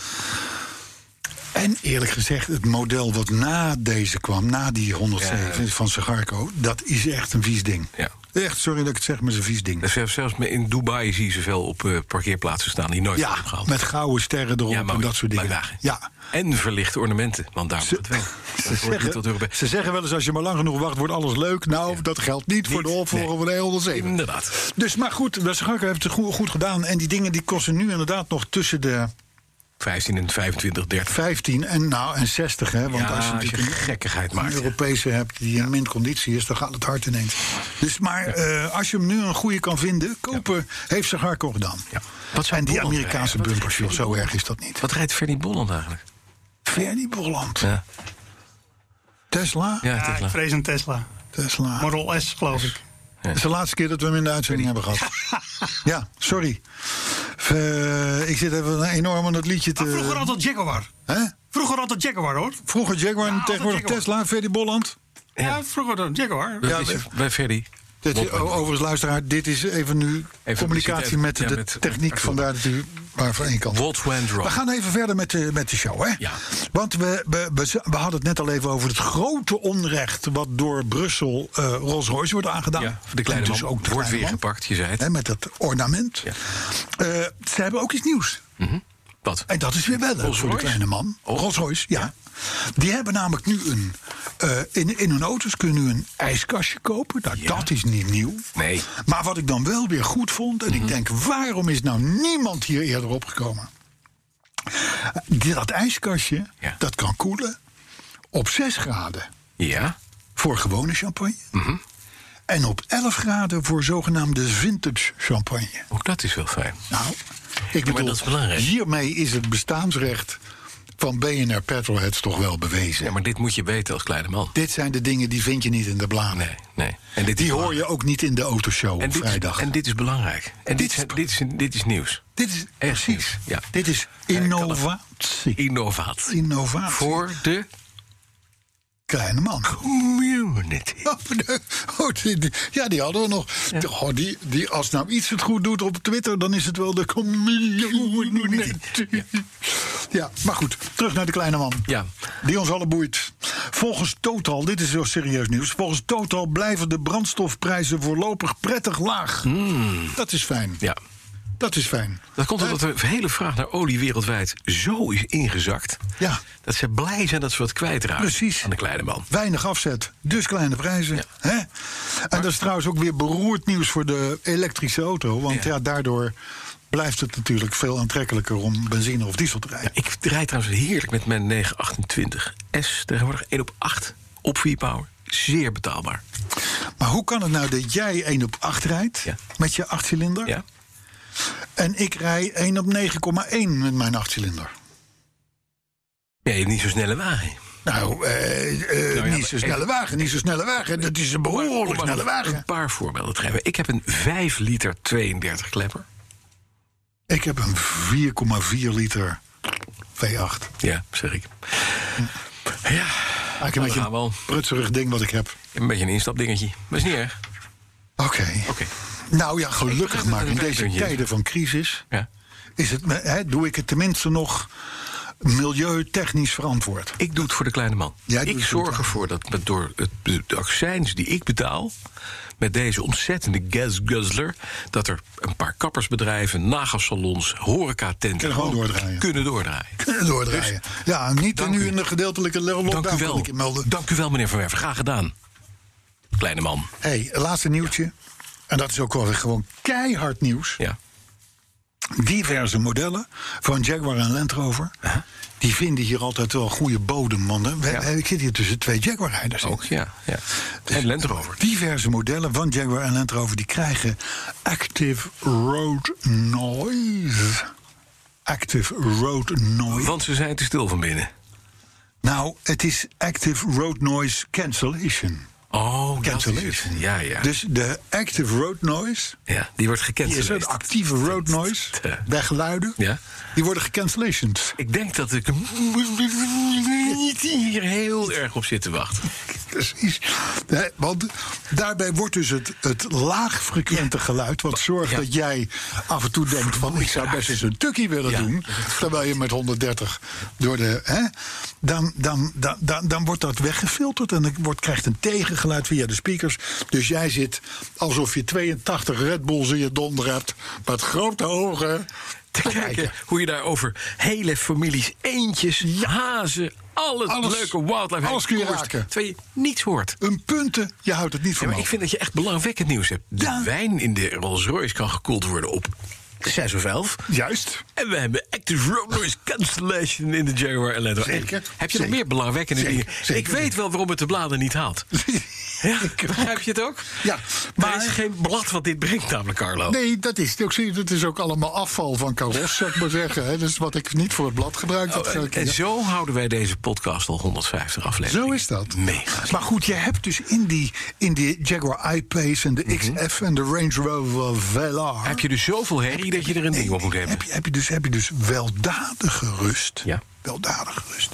[SPEAKER 2] En eerlijk gezegd, het model wat na deze kwam, na die 107
[SPEAKER 3] Ja.
[SPEAKER 2] van Segarco, dat is echt een vies ding.
[SPEAKER 3] Ja.
[SPEAKER 2] Echt, sorry dat ik het zeg, maar het is een vies ding.
[SPEAKER 3] Dus zelfs- Zelfs in Dubai zie je ze veel op eh, parkeerplaatsen staan die nooit
[SPEAKER 2] ja,
[SPEAKER 3] worden opgehaald.
[SPEAKER 2] met gouden sterren erop
[SPEAKER 3] Ja, maar
[SPEAKER 2] en dat soort dingen.
[SPEAKER 3] blijkbaar.
[SPEAKER 2] Ja.
[SPEAKER 3] En verlichte ornamenten, want daar moet het wel.
[SPEAKER 2] Ze
[SPEAKER 3] Dat hoort niet tot Europa.
[SPEAKER 2] zeggen, ze zeggen wel eens, als je maar lang genoeg wacht, wordt alles leuk. Nou, dat geldt niet, voor de
[SPEAKER 3] Niet,
[SPEAKER 2] opvolger
[SPEAKER 3] nee.
[SPEAKER 2] van de E 107.
[SPEAKER 3] Inderdaad.
[SPEAKER 2] Dus, maar goed, West heeft het goe- goed, gedaan. En die dingen die kosten nu inderdaad nog tussen de...
[SPEAKER 3] 15 en 25, 30.
[SPEAKER 2] 15 en nou en 60, hè? Want
[SPEAKER 3] Ja,
[SPEAKER 2] als je,
[SPEAKER 3] als je
[SPEAKER 2] natuurlijk een-
[SPEAKER 3] gekkigheid maakt,
[SPEAKER 2] Een Europese hebt die in min conditie is, dan gaat het hard ineens. Dus maar eh, als je hem nu een goede kan vinden, kopen heeft ze hardcore gedaan. Wat zijn die
[SPEAKER 3] Bolland
[SPEAKER 2] Amerikaanse
[SPEAKER 3] rijden? Wat
[SPEAKER 2] bumpers, joh,
[SPEAKER 3] rijdt
[SPEAKER 2] zo erg is dat niet.
[SPEAKER 3] Wat rijdt Fernie Bolland eigenlijk?
[SPEAKER 2] Fernie Bolland.
[SPEAKER 3] Ja.
[SPEAKER 2] Tesla?
[SPEAKER 3] Ja,
[SPEAKER 15] Ja, ik vrees een Tesla.
[SPEAKER 2] Tesla.
[SPEAKER 15] Model S, geloof ik.
[SPEAKER 2] Dat is de laatste keer dat we hem in de uitzending hebben gehad. ja, sorry. Eh, ik zit even enorm aan het liedje te...
[SPEAKER 15] Vroeger altijd Jaguar.
[SPEAKER 2] Hè?
[SPEAKER 15] Vroeger altijd Jaguar, hoor.
[SPEAKER 2] Vroeger Jaguar en
[SPEAKER 15] Ja,
[SPEAKER 2] tegenwoordig
[SPEAKER 15] altijd
[SPEAKER 2] Tesla, Ferdy Bolland.
[SPEAKER 15] Ja, vroeger dan Jaguar.
[SPEAKER 2] Ja,
[SPEAKER 3] is
[SPEAKER 2] we-
[SPEAKER 3] het bij Ferdy.
[SPEAKER 2] Dit oh, is, o- overigens, luisteraar, dit is even nu
[SPEAKER 3] Even
[SPEAKER 2] communicatie
[SPEAKER 3] publiciteit.
[SPEAKER 2] met de
[SPEAKER 3] Ja, met-
[SPEAKER 2] techniek. Vandaar dat u maar van één kant.
[SPEAKER 3] Walt Wendron.
[SPEAKER 2] We gaan even verder met de, met de show, hè?
[SPEAKER 3] Ja.
[SPEAKER 2] Want we, we, we, z- we hadden het net al even over het grote onrecht... wat door Brussel eh Rolls-Royce wordt aangedaan.
[SPEAKER 3] Ja, de kleine
[SPEAKER 2] En dus
[SPEAKER 3] man
[SPEAKER 2] ook de
[SPEAKER 3] wordt
[SPEAKER 2] kleine
[SPEAKER 3] weer
[SPEAKER 2] man,
[SPEAKER 3] gepakt, je zei het.
[SPEAKER 2] Hè, met dat ornament. Eh, ze hebben ook iets nieuws.
[SPEAKER 3] Wat?
[SPEAKER 2] En dat is weer wel leuk voor de
[SPEAKER 3] Rolls-Royce?
[SPEAKER 2] kleine man. Rolls-Royce, ja. Die hebben namelijk nu een... eh, in, in hun auto's kunnen nu een ijskastje kopen. Nou, dat is niet nieuw.
[SPEAKER 3] Nee.
[SPEAKER 2] Maar wat ik dan wel weer goed vond...
[SPEAKER 3] Mhm.
[SPEAKER 2] en ik denk, waarom is nou niemand hier eerder opgekomen? Die- Dat ijskastje, dat kan koelen op 6 graden
[SPEAKER 3] Ja. Mhm.
[SPEAKER 2] voor gewone champagne... en op 11 graden voor zogenaamde vintage champagne.
[SPEAKER 3] Ook dat is wel fijn.
[SPEAKER 2] Nou, ik
[SPEAKER 3] maar
[SPEAKER 2] bedoel,
[SPEAKER 3] dat is belangrijk.
[SPEAKER 2] hiermee is het bestaansrecht van BNR Petrolheads toch wel bewezen.
[SPEAKER 3] Ja, maar dit moet je weten als kleine man.
[SPEAKER 2] Dit zijn de dingen die vind je niet in de bladen.
[SPEAKER 3] Nee. En dit
[SPEAKER 2] die
[SPEAKER 3] is
[SPEAKER 2] hoor je ook niet in de autoshow
[SPEAKER 3] En
[SPEAKER 2] op
[SPEAKER 3] dit, is-
[SPEAKER 2] vrijdag.
[SPEAKER 3] en dit is belangrijk. En dit, is, dit, is, dit is nieuws.
[SPEAKER 2] Dit is
[SPEAKER 3] echt precies. Ja.
[SPEAKER 2] Dit is innovatie.
[SPEAKER 3] Innovatie.
[SPEAKER 2] Innovatie.
[SPEAKER 3] Voor de
[SPEAKER 2] Kleine man.
[SPEAKER 3] Community.
[SPEAKER 2] Oh, die- die- ja, die hadden we nog. Goh, die, die, als nou iets het goed doet op Twitter, dan is het wel de community. Ja. maar goed. Terug naar de kleine man.
[SPEAKER 3] Ja.
[SPEAKER 2] Die ons alle boeit. Volgens Total, dit is zo serieus nieuws. Volgens Total blijven de brandstofprijzen voorlopig prettig laag. Dat is fijn.
[SPEAKER 3] Hmm. Ja.
[SPEAKER 2] Dat is fijn.
[SPEAKER 3] Dat komt omdat
[SPEAKER 2] Eh.
[SPEAKER 3] de hele vraag naar olie wereldwijd zo is ingezakt.
[SPEAKER 2] Ja.
[SPEAKER 3] Dat ze blij zijn dat ze wat kwijtraken
[SPEAKER 2] Precies.
[SPEAKER 3] aan de kleine man.
[SPEAKER 2] Weinig afzet, dus kleine prijzen. Hè? En dat is trouwens ook weer beroerd nieuws voor de elektrische auto. Want ja. daardoor blijft het natuurlijk veel aantrekkelijker om benzine of diesel te rijden.
[SPEAKER 3] Ik rijd trouwens heerlijk met mijn 928 S. Tegenwoordig 1 op 8 op 4 power. Zeer betaalbaar.
[SPEAKER 2] Maar hoe kan het nou dat jij 1 op 8 rijdt met je 8-cilinder?
[SPEAKER 3] Ja.
[SPEAKER 2] En ik rij 1 op 9,1 met mijn 8-cilinder.
[SPEAKER 3] Nee, niet zo'n snelle wagen. Nou
[SPEAKER 2] Nou, eh, eh,
[SPEAKER 3] ja,
[SPEAKER 2] niet
[SPEAKER 3] maar
[SPEAKER 2] zo
[SPEAKER 3] even-
[SPEAKER 2] snelle wagen, niet zo snelle wagen. Dat is een
[SPEAKER 3] Om
[SPEAKER 2] behoorlijk
[SPEAKER 3] maar
[SPEAKER 2] snelle
[SPEAKER 3] nog
[SPEAKER 2] wagen.
[SPEAKER 3] Een paar voorbeelden te geven. Ik heb een 5 liter 32 klepper.
[SPEAKER 2] Ik heb een 4,4 liter V8.
[SPEAKER 3] Ja, zeg ik. Ja,
[SPEAKER 2] Eigenlijk een beetje
[SPEAKER 3] gaan we al.
[SPEAKER 2] een prutserig ding wat ik heb.
[SPEAKER 3] Een beetje een instapdingetje. Maar is niet erg.
[SPEAKER 2] Oké.
[SPEAKER 3] Oké.
[SPEAKER 2] Nou ja,
[SPEAKER 3] Ik begrijp
[SPEAKER 2] gelukkig
[SPEAKER 3] dat
[SPEAKER 2] maar.
[SPEAKER 3] het
[SPEAKER 2] In
[SPEAKER 3] een
[SPEAKER 2] deze
[SPEAKER 3] wijkpuntje is.
[SPEAKER 2] tijden van crisis
[SPEAKER 3] Ja.
[SPEAKER 2] is het, hè, doe ik het tenminste nog milieutechnisch verantwoord.
[SPEAKER 3] Ik doe het voor de kleine man.
[SPEAKER 2] Jij doet
[SPEAKER 3] ik
[SPEAKER 2] het
[SPEAKER 3] zorg
[SPEAKER 2] voor
[SPEAKER 3] ervoor dat met door het, de, de accijns die ik betaal... met deze ontzettende gasguzzler... dat er een paar kappersbedrijven, nagelsalons, horeca-tenten...
[SPEAKER 2] Kunnen gewoon doordraaien.
[SPEAKER 3] Kunnen doordraaien.
[SPEAKER 2] doordraaien. ja, niet
[SPEAKER 3] Dus, dank
[SPEAKER 2] nu
[SPEAKER 3] u.
[SPEAKER 2] in de gedeeltelijke lockdown
[SPEAKER 3] Dank u
[SPEAKER 2] kan
[SPEAKER 3] wel.
[SPEAKER 2] ik je melden.
[SPEAKER 3] Dank u wel, meneer Van Werven. Graag gedaan. Kleine man.
[SPEAKER 2] hey, laatste nieuwtje. En dat is ook wel weer gewoon keihard nieuws.
[SPEAKER 3] Ja.
[SPEAKER 2] Diverse modellen van Jaguar en Land Rover... die vinden hier altijd wel goede bodem. Want hè, we- ik zit hier tussen twee Jaguar-rijders. in.
[SPEAKER 3] Ook, ja. ja. En Land Rover.
[SPEAKER 2] Dus Diverse modellen van Jaguar en Land Rover die krijgen active road noise. Active road noise.
[SPEAKER 3] Want ze zijn te stil van binnen.
[SPEAKER 2] Nou, het is active road noise cancellation.
[SPEAKER 3] Oh, dat is
[SPEAKER 2] Cancellation.
[SPEAKER 3] het. Ja, ja.
[SPEAKER 2] Dus de active road noise,
[SPEAKER 3] ja die wordt
[SPEAKER 2] die is een
[SPEAKER 3] gecanceld.
[SPEAKER 2] actieve road noise bij geluiden.
[SPEAKER 3] Ja.
[SPEAKER 2] Die worden gecancellations.
[SPEAKER 3] Ik denk dat ik niet hier heel erg op zit te wachten.
[SPEAKER 2] Precies. Hè, want daarbij wordt dus het, het laagfrequente geluid... wat zorgt
[SPEAKER 3] Ja.
[SPEAKER 2] dat jij af en toe denkt van... ik zou best eens een tukkie willen
[SPEAKER 3] Ja.
[SPEAKER 2] doen... terwijl je met 130 door de... Hè, dan, dan, dan, dan, dan wordt dat weggefilterd... en het wordt, krijgt een tegengeluid via de speakers. Dus jij zit alsof je 82 Red Bulls in je donder hebt... met grote ogen te kijken.
[SPEAKER 3] kijken hoe je daarover hele families, eentjes, hazen, al het
[SPEAKER 2] Alles-
[SPEAKER 3] leuke wildlife
[SPEAKER 2] alles kun je raken.
[SPEAKER 3] Terwijl je niets hoort.
[SPEAKER 2] Een punten, je houdt het niet
[SPEAKER 3] Ja,
[SPEAKER 2] van
[SPEAKER 3] maar ik vind dat je echt belangwekkend nieuws hebt. De
[SPEAKER 2] Ja.
[SPEAKER 3] wijn in de Rolls Royce kan gekoeld worden op 6 of 11.
[SPEAKER 2] Juist.
[SPEAKER 3] En we hebben active road noise cancellation in de Jaguar Eletto.
[SPEAKER 2] Zeker.
[SPEAKER 3] Heb je
[SPEAKER 2] Zeker.
[SPEAKER 3] nog meer belangwekkende
[SPEAKER 2] Zeker.
[SPEAKER 3] dingen?
[SPEAKER 2] Zeker.
[SPEAKER 3] Ik weet wel waarom het de bladen niet haalt. ja, begrijp je het ook?
[SPEAKER 2] Ja.
[SPEAKER 3] Maar er is geen blad wat dit brengt, namelijk Carlo.
[SPEAKER 2] Nee, dat is het ook. Zie je, Dat is ook allemaal afval van Caros, zou ik maar zeggen. Hè. Dat is wat ik niet voor het blad gebruik. Dat
[SPEAKER 3] Oh,
[SPEAKER 2] zou
[SPEAKER 3] en,
[SPEAKER 2] ik-
[SPEAKER 3] en
[SPEAKER 2] ja.
[SPEAKER 3] zo houden wij deze podcast al 150 afleveringen.
[SPEAKER 2] Zo is dat.
[SPEAKER 3] Mega.
[SPEAKER 2] Maar goed, je hebt dus in die, in die Jaguar I-Pace en de XF en de Range Rover Velar...
[SPEAKER 3] Mhm. Heb je dus zoveel herrie dat je er een ding op moet hebben?
[SPEAKER 2] heb je, heb je, dus, heb je dus weldadige rust.
[SPEAKER 3] Ja.
[SPEAKER 2] Weldadige rust.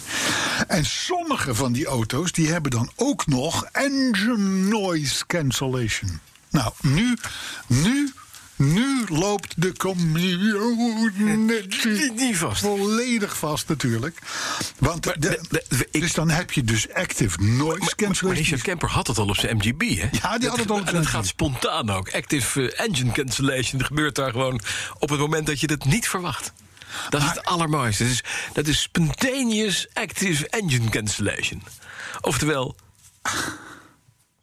[SPEAKER 2] En sommige van die auto's die hebben dan ook nog engine noise cancellation. Nou, nu, nu, nu loopt de community
[SPEAKER 3] niet vast.
[SPEAKER 2] volledig vast natuurlijk. Want de- dus dan heb je dus active noise
[SPEAKER 3] Maar
[SPEAKER 2] cancellation.
[SPEAKER 3] Richard Kemper had het al op zijn MGB, hè?
[SPEAKER 2] Ja, die had het al op
[SPEAKER 3] En
[SPEAKER 2] zijn
[SPEAKER 3] dat
[SPEAKER 2] MGB.
[SPEAKER 3] gaat spontaan ook. Active eh, engine cancellation dat gebeurt daar gewoon op het moment dat je dat niet verwacht. Dat is het allermooiste. Dat is, dat is spontaneous active engine cancellation. Oftewel,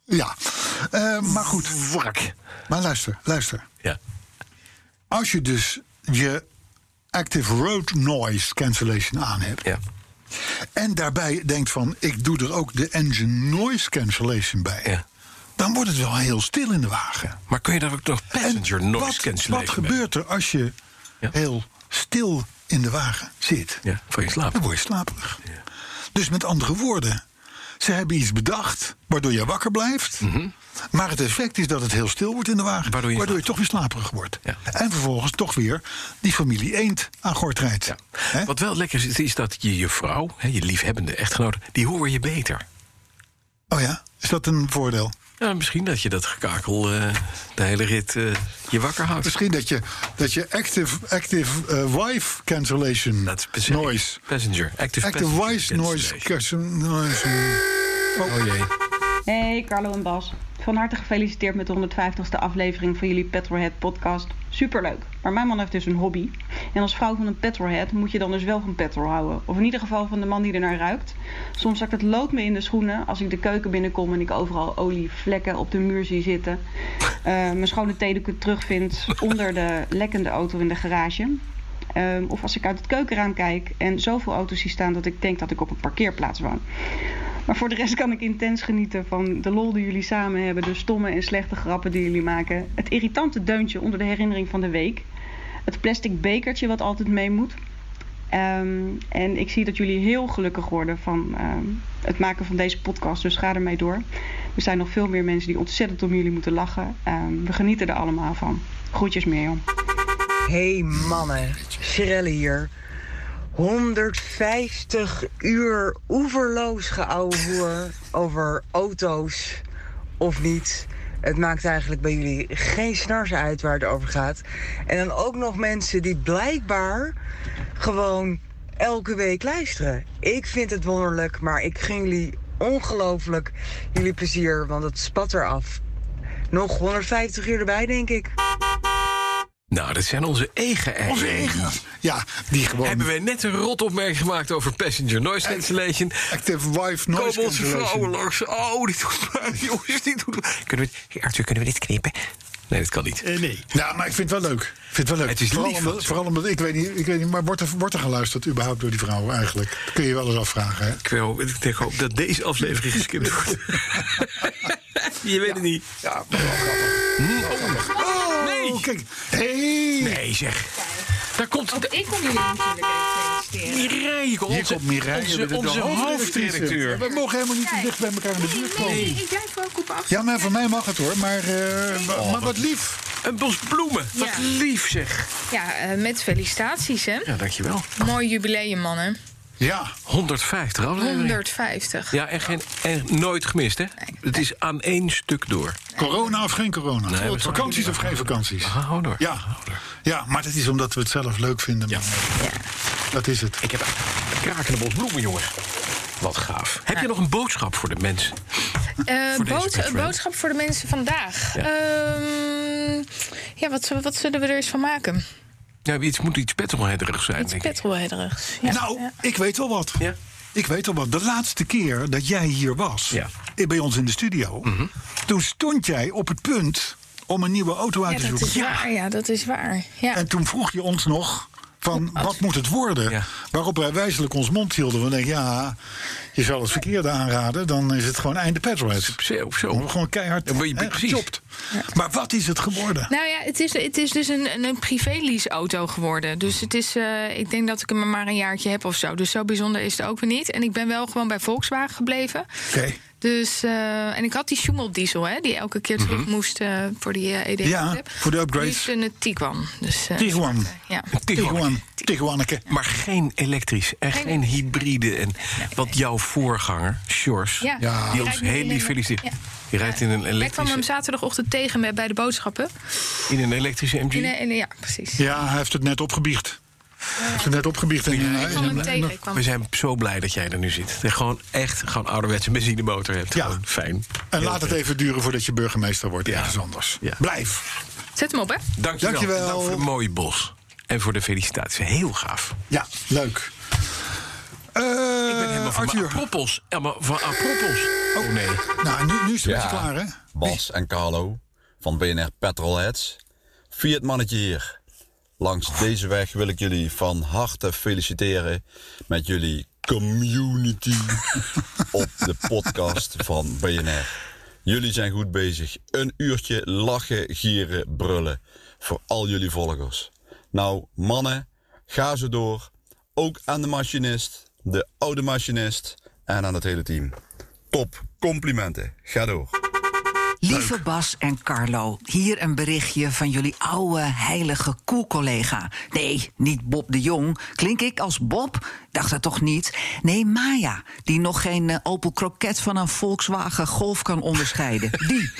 [SPEAKER 2] Ja, Eh, maar goed.
[SPEAKER 3] wrak.
[SPEAKER 2] Maar luister, luister.
[SPEAKER 3] Ja.
[SPEAKER 2] Als je dus je active road noise cancellation aan hebt.
[SPEAKER 3] Ja.
[SPEAKER 2] En daarbij denkt van ik doe er ook de engine noise cancellation bij.
[SPEAKER 3] Ja.
[SPEAKER 2] Dan wordt het wel heel stil in de wagen.
[SPEAKER 3] Maar kun je daar ook nog passenger
[SPEAKER 2] En
[SPEAKER 3] noise
[SPEAKER 2] wat,
[SPEAKER 3] cancellation
[SPEAKER 2] wat gebeurt er als je heel stil in de wagen zit?
[SPEAKER 3] Ja, voor je slaap.
[SPEAKER 2] Dan word je slaperig. Dus met andere woorden, ze hebben iets bedacht waardoor je wakker blijft.
[SPEAKER 3] Mhm.
[SPEAKER 2] Maar het effect is dat het heel stil wordt in de wagen. Waardoor je, toch weer slaperig wordt. En vervolgens toch weer die familie eend aan gort rijdt. Hè?
[SPEAKER 3] Wat wel lekker is, is dat je je vrouw, hè, je liefhebbende echtgenote, die hoor je beter.
[SPEAKER 2] Oh ja, is dat een voordeel?
[SPEAKER 3] Ja, misschien dat je dat gekakel eh, de hele rit eh, je wakker houdt.
[SPEAKER 2] Misschien dat je, dat je active, active eh, wife cancellation noise.
[SPEAKER 3] Passenger. Active,
[SPEAKER 2] Active
[SPEAKER 3] passenger
[SPEAKER 2] wife noise cancellation noise.
[SPEAKER 3] Oh. jee.
[SPEAKER 16] Hey Carlo en Bas. Van harte gefeliciteerd met de 150ste aflevering van jullie Petrolhead podcast. Superleuk. Maar mijn man heeft dus een hobby. En als vrouw van een petrolhead moet je dan dus wel van petrol houden. Of in ieder geval van de man die ernaar ruikt. Soms zakt het lood me in de schoenen als ik de keuken binnenkom en ik overal olievlekken op de muur zie zitten. Eh, mijn schone theedoeken terugvind onder de lekkende auto in de garage. Ehm, of als ik uit het keukenraam kijk en zoveel auto's zie staan dat ik denk dat ik op een parkeerplaats woon. Maar voor de rest kan ik intens genieten van de lol die jullie samen hebben, de stomme en slechte grappen die jullie maken, het irritante deuntje onder de herinnering van de week, het plastic bekertje wat altijd mee moet. Ehm, en ik zie dat jullie heel gelukkig worden van ehm, het maken van deze podcast, dus ga ermee door. Er zijn nog veel meer mensen die ontzettend om jullie moeten lachen. Ehm, we genieten er allemaal van. Groetjes, Mirjam.
[SPEAKER 17] Hey mannen, Shirelle hier. 150 uur oeverloos geouwehoer over auto's of niet. Het maakt eigenlijk bij jullie geen snars uit waar het over gaat. En dan ook nog mensen die blijkbaar gewoon elke week luisteren. Ik vind het wonderlijk, maar ik gun jullie ongelooflijk jullie plezier, want het spat eraf. Nog 150 uur erbij, denk ik.
[SPEAKER 3] Nou, dat zijn onze eigen Onze eigen.
[SPEAKER 2] Ja, die gewoon.
[SPEAKER 3] Hebben wij net een rot opmerking gemaakt over passenger noise cancellation?
[SPEAKER 2] Active wife noise
[SPEAKER 3] Komen onze
[SPEAKER 2] cancellation.
[SPEAKER 3] vrouwen langs. Oh, dit doet pijn, jongens. Dit doet pijn. Kunnen we, dit- Arthur, kunnen we dit knippen? Eh, Nee, dat kan niet.
[SPEAKER 2] nee. Nou, maar ik vind het wel leuk. Ik vind het wel leuk.
[SPEAKER 3] Het is
[SPEAKER 2] vooral,
[SPEAKER 3] lief van
[SPEAKER 2] omdat,
[SPEAKER 3] ze.
[SPEAKER 2] vooral omdat, ik weet niet, ik weet niet maar wordt er, wordt er geluisterd überhaupt door die vrouwen eigenlijk? Dat kun je wel eens afvragen, hè?
[SPEAKER 3] Ik, wil, ik denk ook dat deze aflevering geskipt wordt. Je weet het niet.
[SPEAKER 2] Ja, maar wel grappig. Oh, nee. kijk. Hey.
[SPEAKER 3] Nee, zeg. Daar komt...
[SPEAKER 18] Ook ik kom jullie natuurlijk even feliciteren.
[SPEAKER 3] Mireille, onze,
[SPEAKER 2] Hier komt Mireille,
[SPEAKER 3] onze,
[SPEAKER 2] de- de
[SPEAKER 3] onze
[SPEAKER 2] hoofdredactrice.
[SPEAKER 3] hoofdredacteur.
[SPEAKER 2] We mogen helemaal niet te dicht bij elkaar in de buurt komen.
[SPEAKER 18] Nee, ik blijf ook op afstand.
[SPEAKER 2] Ja, maar van mij mag het hoor. Maar, eh, wa- maar wat lief.
[SPEAKER 3] Een Oh, bos bloemen. Wat lief zeg.
[SPEAKER 18] Ja, eh, met felicitaties, hè?
[SPEAKER 3] Ja, dankjewel.
[SPEAKER 18] Mooi jubileum, mannen.
[SPEAKER 2] Ja.
[SPEAKER 3] 150 afleveringen.
[SPEAKER 18] 150.
[SPEAKER 3] Ja, en, geen, en nooit gemist, hè? Het is aan één stuk door.
[SPEAKER 2] Corona of geen corona?
[SPEAKER 3] Nee, we-
[SPEAKER 2] vakanties of geen vakanties?
[SPEAKER 3] Hou door.
[SPEAKER 2] Ja. ja, maar dat is omdat we het zelf leuk vinden. Ja. Dat is het.
[SPEAKER 3] Ik heb een krakende bos bloemen, jongen. Wat gaaf. Heb je nog een boodschap voor de mensen?
[SPEAKER 18] Eh,
[SPEAKER 3] Voor deze
[SPEAKER 18] bood-
[SPEAKER 3] Patreon.
[SPEAKER 18] een boodschap voor de mensen vandaag.
[SPEAKER 3] Ja.
[SPEAKER 18] Ja, ja wat, zullen- wat zullen we er eens van maken?
[SPEAKER 3] Ja, iets moet iets petrolheaderigs zijn,
[SPEAKER 18] Iets
[SPEAKER 3] denk ik.
[SPEAKER 18] petrolheaderigs. Ja.
[SPEAKER 2] nou, ik weet wel wat. Ik weet wel wat. De laatste keer
[SPEAKER 3] Mhm.
[SPEAKER 2] dat jij hier was, eh, bij ons in de studio, toen stond jij op het punt om een nieuwe auto uit
[SPEAKER 18] Ja,
[SPEAKER 2] te
[SPEAKER 18] dat
[SPEAKER 2] zoeken.
[SPEAKER 18] is waar. Ja, dat is waar. Ja.
[SPEAKER 2] En toen vroeg je ons nog van wat moet het worden? Waarop wij wijzelijk ons mond hielden. We denken, ja, je zal het verkeerde aanraden, dan is het gewoon einde petrolheads.
[SPEAKER 3] Zo,
[SPEAKER 2] zo. Gewoon keihard dan je gechopt. Maar wat is het geworden?
[SPEAKER 18] Nou ja, het is, het is dus een, een- een privé-leaseauto geworden. Dus het is, eh, ik denk dat ik hem maar een jaartje heb of zo. Dus zo bijzonder is het ook weer niet. En ik ben wel gewoon bij Volkswagen gebleven.
[SPEAKER 2] Oké.
[SPEAKER 18] Dus, eh, en ik had die Schumel diesel, hè, die elke keer terug
[SPEAKER 3] Mhm.
[SPEAKER 18] moest eh, voor die eh, EDF.
[SPEAKER 2] Ja, voor de upgrades.
[SPEAKER 18] Nu is het een Tiguan. Dus, eh,
[SPEAKER 2] Tiguan.
[SPEAKER 18] Ja.
[SPEAKER 2] Tiguan. Tiguaneke.
[SPEAKER 3] Maar geen elektrisch en
[SPEAKER 18] Nee,
[SPEAKER 3] geen hybride. En wat jouw voorganger, Sjors,
[SPEAKER 18] Ja, die
[SPEAKER 3] die
[SPEAKER 18] rijdt
[SPEAKER 3] ons
[SPEAKER 18] nu
[SPEAKER 3] heel
[SPEAKER 18] in
[SPEAKER 3] lief
[SPEAKER 18] een-
[SPEAKER 3] feliciteert.
[SPEAKER 18] ja.
[SPEAKER 3] Je rijdt in een,
[SPEAKER 18] Ik kwam hem
[SPEAKER 3] elektrische,
[SPEAKER 18] zaterdagochtend tegen met- bij de boodschappen.
[SPEAKER 3] in een elektrische MG.
[SPEAKER 18] In, een- in een- ja, precies.
[SPEAKER 2] Ja, hij heeft het net opgebiecht. Hij heeft het net opgebiecht. En, eh,
[SPEAKER 3] Ja,
[SPEAKER 18] kwam hem tegen, ik kwam-
[SPEAKER 3] We zijn zo blij dat jij er nu zit. Dat je gewoon echt gewoon ouderwetse benzinemotor hebt. Gewoon fijn.
[SPEAKER 2] en
[SPEAKER 3] Heel
[SPEAKER 2] laat het
[SPEAKER 3] fijn.
[SPEAKER 2] even duren voordat je burgemeester wordt. Ergens anders. Blijf.
[SPEAKER 18] Zet hem op, hè?
[SPEAKER 3] Dankjewel.
[SPEAKER 2] Dankjewel.
[SPEAKER 3] Dank voor het mooie bos. En voor de felicitaties. Heel gaaf.
[SPEAKER 2] Ja, leuk. Eh, ik ben helemaal
[SPEAKER 3] van mijn aproppels. Helemaal van aproppels. Oh nee.
[SPEAKER 2] Nou, nu, nu is het beetje klaar, hè?
[SPEAKER 19] Bas en Carlo van BNR Petrolheads. Fiat mannetje hier. Langs deze weg wil ik jullie van harte feliciteren met jullie community op de podcast van BNR. Jullie zijn goed bezig. Een uurtje lachen, gieren, brullen voor al jullie volgers. Nou, mannen, ga zo door. Ook aan de machinist, de oude machinist en aan het hele team. Top, complimenten. Ga door.
[SPEAKER 20] Lieve Bas en Carlo, hier een berichtje van jullie oude heilige koelcollega. Nee, niet Bob de Jong. Klink ik als Bob? Dacht dat toch niet? Nee, Maya, die nog geen eh, Opel Kroket van een Volkswagen Golf kan onderscheiden. Die.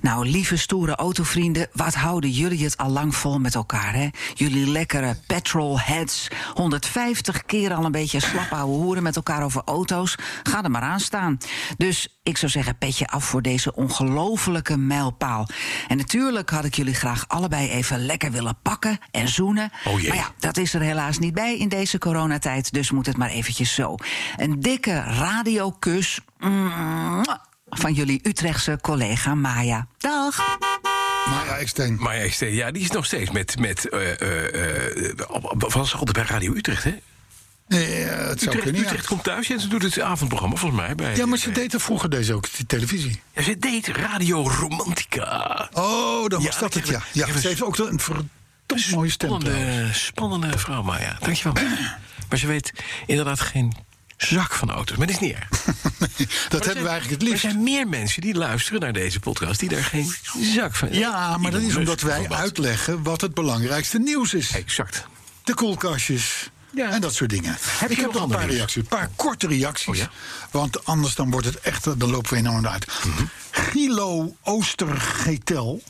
[SPEAKER 20] Nou, lieve stoere autovrienden, wat houden jullie het al lang vol met elkaar, hè? Jullie lekkere petrolheads. 150 keer al een beetje slap ouwe hoeren met elkaar over auto's. Ga er maar aan staan. Dus ik zou zeggen, petje af voor deze ongelofelijke mijlpaal. En natuurlijk had ik jullie graag allebei even lekker willen pakken en zoenen.
[SPEAKER 21] Oh jee.
[SPEAKER 20] Maar ja, dat is er helaas niet bij in deze coronatijd. Dus moet het maar eventjes zo. Een dikke radiokus mm, van jullie Utrechtse collega Maya. Dag!
[SPEAKER 2] Maya Eksteen.
[SPEAKER 3] Maya Eksteen, ja, die is nog steeds met... met eh, eh, eh, op- op- was altijd bij Radio Utrecht, hè?
[SPEAKER 2] Nee, eh, het Eh, zou
[SPEAKER 3] Utrecht,
[SPEAKER 2] kunnen, ja.
[SPEAKER 3] Utrecht komt thuis en ze doet het avondprogramma, volgens mij. Bij,
[SPEAKER 2] Ja, maar ze deed er vroeger deze ook, die televisie.
[SPEAKER 3] Ja, ze deed Radio Romantica.
[SPEAKER 2] Oh, dan
[SPEAKER 3] Ja,
[SPEAKER 2] was dat
[SPEAKER 3] ik
[SPEAKER 2] het, ja.
[SPEAKER 3] heb een- ik
[SPEAKER 2] ja
[SPEAKER 3] heb
[SPEAKER 2] ze
[SPEAKER 3] een
[SPEAKER 2] heeft ook een verdomd mooie stem.
[SPEAKER 3] Spannende, spannende vrouw, Maya. Dankjewel. maar ze weet inderdaad geen zak van auto's. Maar dat is niet erg.
[SPEAKER 2] dat hebben we eigenlijk het liefst.
[SPEAKER 3] Er zijn meer mensen die luisteren naar deze podcast... die daar geen zak van...
[SPEAKER 2] Ja, maar dat
[SPEAKER 3] Elon
[SPEAKER 2] is omdat
[SPEAKER 3] Musk
[SPEAKER 2] wij
[SPEAKER 3] bijvoorbeeld.
[SPEAKER 2] uitleggen wat het belangrijkste nieuws is.
[SPEAKER 3] Exact.
[SPEAKER 2] De koelkastjes. En dat soort dingen.
[SPEAKER 3] je
[SPEAKER 2] ik heb
[SPEAKER 3] nog
[SPEAKER 2] nog een
[SPEAKER 3] ander
[SPEAKER 2] paar
[SPEAKER 3] nieuws? Oh,
[SPEAKER 2] reacties. Een paar korte reacties. Want anders dan wordt het echt, dan lopen we enorm uit.
[SPEAKER 3] Mhm.
[SPEAKER 2] Gilo Oostergetel.